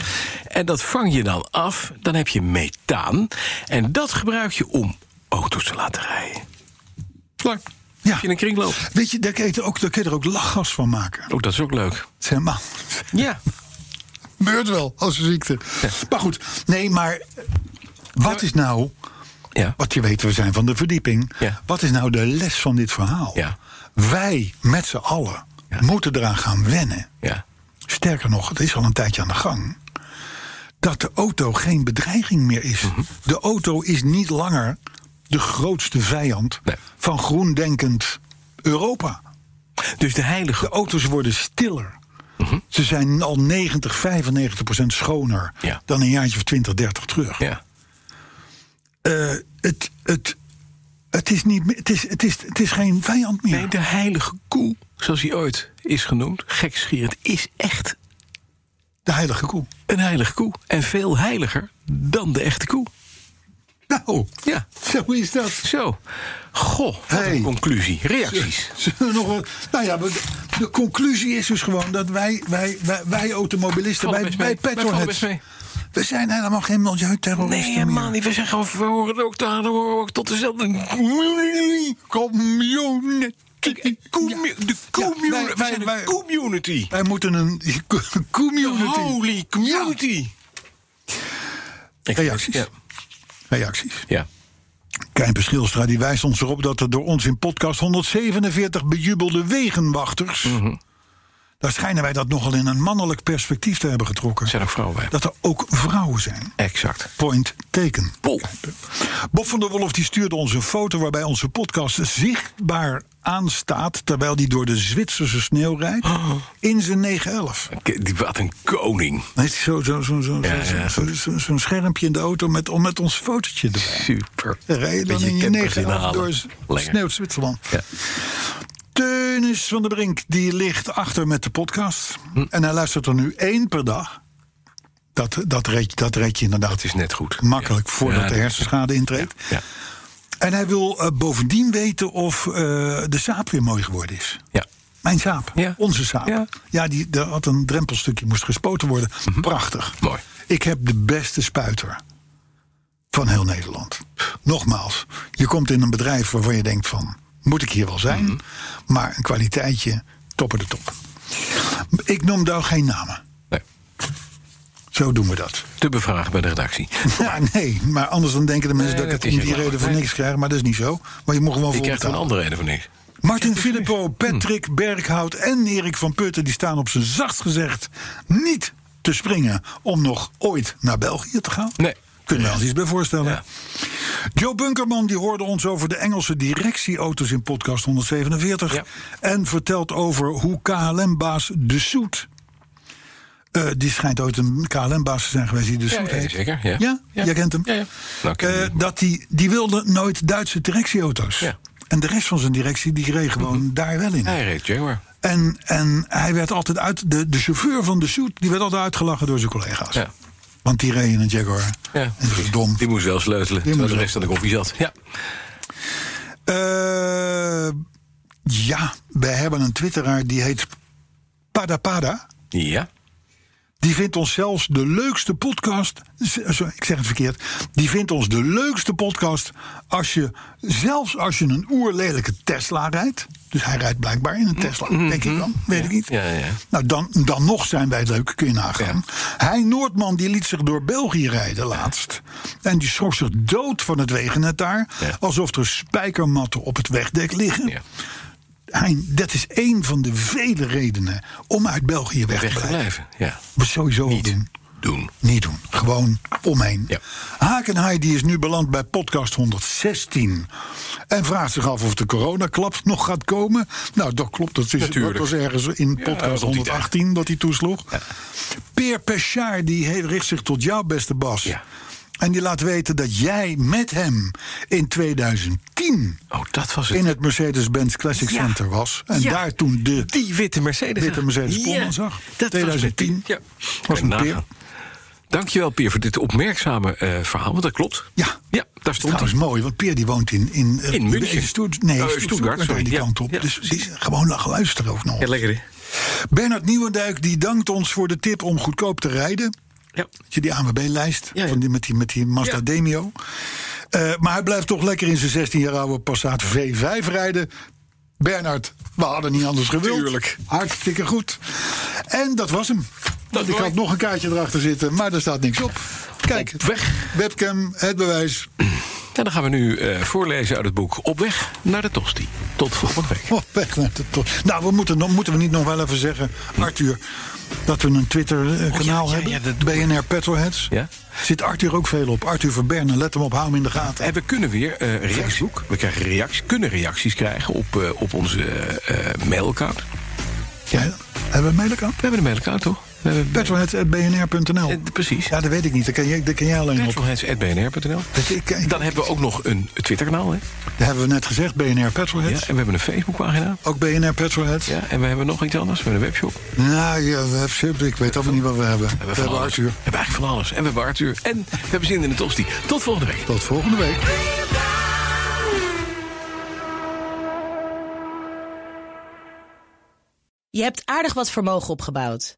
En dat vang je dan af, dan heb je methaan. En dat gebruik je om auto's te laten rijden. Klaar.
Ja.
Als je in een kringloop.
Weet je, daar kun je, het ook, daar kun je er ook lachgas van maken.
Ook dat is ook leuk.
Zeg maar,
Ja.
gebeurt wel als een ziekte. Maar goed, nee, maar eh, Wat is nou,
Ja.
wat je weet, we zijn van de verdieping.
Ja.
Wat is nou de les van dit verhaal?
Ja.
Wij met z'n allen
Ja.
moeten eraan gaan wennen.
Ja.
Sterker nog, het is al een tijdje aan de gang. Dat de auto geen bedreiging meer is.
Mhm.
De auto is niet langer de grootste vijand
Nee.
van groendenkend Europa.
Dus de
De
heilige.
auto's worden stiller.
Mhm.
Ze zijn al 90, 95 procent schoner
Ja.
dan een jaartje of 20, 30 terug.
Ja.
Eh, het, het, het, is niet, meer- het, is, het, is, het is geen vijand meer.
Nee, de heilige koe, zoals hij ooit is genoemd, gekschierend, is echt
De heilige koe.
een heilige koe. En veel heiliger dan de echte koe.
Nou,
Ja.
zo is dat.
Zo. Goh, wat
Hey.
een conclusie. Reacties.
Zullen we nog wat- nou ja, we- de conclusie is dus gewoon dat wij, wij, wij, wij automobilisten,
Valt
wij,
best
wij
mee. Wij vallen
petrolheads...
best mee.
We zijn helemaal geen milieuterroristen
Nee,
meer.
helemaal niet. We zeggen, we horen ook, daar, we horen ook tot dezelfde...
Community.
Commu- De
Ja, wij-
community. We
wij-
zijn
wij-
een community.
Wij moeten een community...
Holy community. Ik-
Reacties.
Ja.
Reacties.
ja.
Kein Verschilstra die wijst ons erop dat er door ons in podcast 147 bejubelde wegenwachters.
Mhm.
Daar schijnen wij dat nogal in een mannelijk perspectief te hebben
Er
getrokken.
zijn ook vrouwen bij.
Dat er ook vrouwen zijn.
Exact.
Point teken.
Pol.
Bob van der Wolf die stuurde ons een foto waarbij onze podcast zichtbaar aanstaat. terwijl die door de Zwitserse sneeuw rijdt.
Oh.
in zijn 911.
K- die- Wat een koning.
Dan heeft hij zo'n zo, zo, zo,
Ja,
zo-
ja,
zo- zo- zo'n schermpje in de auto met, met ons fotootje erbij.
Super.
Dan rij je dan in je
campers
negen af
inhalen.
door s-
Lekker.
sneeuwt Zwitserland.
Ja.
Teunis van der Brink die ligt achter met de podcast.
Hm.
En hij luistert er nu één per dag. Dat, dat, red, je- dat red je inderdaad
Dat is net goed.
makkelijk
Ja.
voordat
Ja,
de
dat-
hersenschade intreedt.
Ja.
En hij wil eh, bovendien weten of eh, de saap weer mooi geworden is.
Ja.
Mijn saap,
Ja.
onze saap. Ja,
Ja. Mhm.
die daar had een drempelstukje, moest gespoten worden. Prachtig.
Mooi.
Ik heb de beste spuiter van heel Nederland. Nogmaals, je komt in een bedrijf waarvan je denkt van... moet ik hier wel zijn?
Mhm.
Maar een kwaliteitje, topper de top. Ik noem daar geen namen.
Nee.
Zo doen we dat.
Te bevragen bij de redactie.
Ja, nee, maar anders dan denken de mensen
Nee,
dat ik het
dat
om
is
die
helemaal-
reden voor
nee.
niks krijg. Maar dat is niet zo. Maar je moet gewoon
Ik
voor
krijg er een
betalen.
andere reden voor niks.
Martin Filippo,
Hm.
Patrick Berghout en Erik van Putten... die staan op zijn zachtst gezegd niet te springen... om nog ooit naar België te gaan.
Nee.
Kunnen we ons iets bij voorstellen.
Ja.
Joe Bunkerman die hoorde ons over de Engelse directieauto's in podcast 147...
Ja.
en vertelt over hoe KLM-baas De Soet... eh, die schijnt ooit een KLM-baas te zijn geweest die De
Ja,
Soet
ja,
heet.
zeker. Ja.
Ja? Jij kent hem?
Ja, ja. Nou, ik ken
Eh,
hem.
dat die, die wilde nooit Duitse directieauto's.
Ja.
En de rest van zijn directie die reed gewoon
Mhm.
daar wel in.
Hij reed Jaguar.
En, en hij werd altijd uit. De, de chauffeur van de suit die werd altijd uitgelachen door zijn collega's.
Ja.
Want die reed in een Jaguar.
Ja,
En dat was
precies.
dom.
Die moest wel sleutelen, terwijl
moest
de
wel.
rest aan de koffie zat. Ja.
Eh, ja, wij hebben een twitteraar die heet Pada Pada.
Ja.
Die vindt ons zelfs de leukste podcast. z- Sorry, ik zeg het verkeerd. Die vindt ons de leukste podcast als je, zelfs als je een oerlelijke Tesla rijdt. Dus hij rijdt blijkbaar in een Tesla, denk ik dan. Weet ik niet.
Mm. Ja, ja, ja.
Nou, dan, dan nog zijn wij leuk, kun je nagaan. Hij Noordman die liet zich door België rijden laatst. En die schrok zich dood van het wegennet daar.
Ja.
Alsof er spijkermatten op het wegdek liggen.
ja.
Hein, dat is één van de vele redenen om uit België weg,
Weg te
blijven.
blijven. Ja.
We sowieso
Niet
doen.
doen.
Niet doen. Gewoon omheen.
Ja.
Hakenhaai die is nu beland bij podcast 116. En vraagt zich af of de coronaklap nog gaat komen. Nou, dat klopt. Dat, is, dat
Natuurlijk.
was ergens in podcast
rond die tijd.
118 dat hij toesloeg. Peer Peschaar die he- richt zich tot jou, beste Bas.
Ja.
En die laat weten dat jij met hem in 2010
Oh, dat was het.
in het Mercedes-Benz Classic
Ja.
Center was. En
Ja.
daar toen de
Die witte Mercedes.
Witte Mercedes
Ja,
Pullman zag.
Dat
2010
was, met die- ja.
was
Kan
een
nagaan. Dankjewel, Peer, voor dit opmerkzame eh, verhaal. Want dat klopt.
Ja.
Ja, daar stond
Trouwens
hij.
mooi, want Peer die woont in... In, eh,
In München.
Stutt- nee,
Eh,
Stuttgart,
Stuttgart,
daar
sorry.
die
Ja,
kant op.
ja,
dus die, gewoon naar luisteren ook nog.
Ja, lekker, hè?
Bernard Nieuwendijk die dankt ons voor de tip om goedkoop te rijden.
Ja.
Weet je, die ANWB-lijst
Ja, ja.
van die, met, die, met die Mazda
Ja.
Demio. Eh, maar hij blijft toch lekker in zijn 16 jaar oude Passat V5 rijden. Bernard, we hadden niet anders gewild.
Tuurlijk.
Hartstikke goed. En dat was hem. Want ik
mooi.
had nog een kaartje erachter zitten, maar er staat niks op. Kijk,
Op weg.
webcam, het bewijs.
En dan gaan we nu eh, voorlezen uit het boek Op weg naar de tosti. Tot volgende week.
Oh, weg naar de tosti. Nou, we moeten, nog- moeten we niet nog wel even zeggen, Arthur, dat we een
Oh, ja,
Twitter-kanaal
ja,
hebben?
ja, dat doen
BNR Petrolheads.
Ja.
Zit Arthur ook veel op? Arthur Verberne, let hem op, hou hem in de gaten.
En we kunnen weer eh reacties.
Facebook.
We krijgen reacties, kunnen reacties krijgen op, eh, op onze eh, eh, mailaccount.
Ja, Eh, hebben we een mailaccount?
We hebben een mailaccount, toch? We hebben
Petrolheads.bnr.nl.
Eh, precies.
Ja, dat weet ik niet. Daar ken jij, daar ken jij alleen op.
petrolheads.bnr.nl.
Dus ik- ik-
Dan hebben we ook nog een Twitterkanaal. Hè?
Dat hebben we net gezegd, BNR
Ja,
Petrolheads.
en we hebben een Facebookpagina.
Ook BNR Petrolheads.
Ja, en we hebben nog iets anders. We hebben een webshop. We
Nou, ja, we hebben Sip, ik weet allemaal niet wat we hebben. We
van
hebben
alles.
Arthur.
We hebben eigenlijk van alles. En we hebben Arthur. En we hebben zin in de tosti. Tot volgende week.
Tot volgende week.
Je hebt aardig wat vermogen opgebouwd.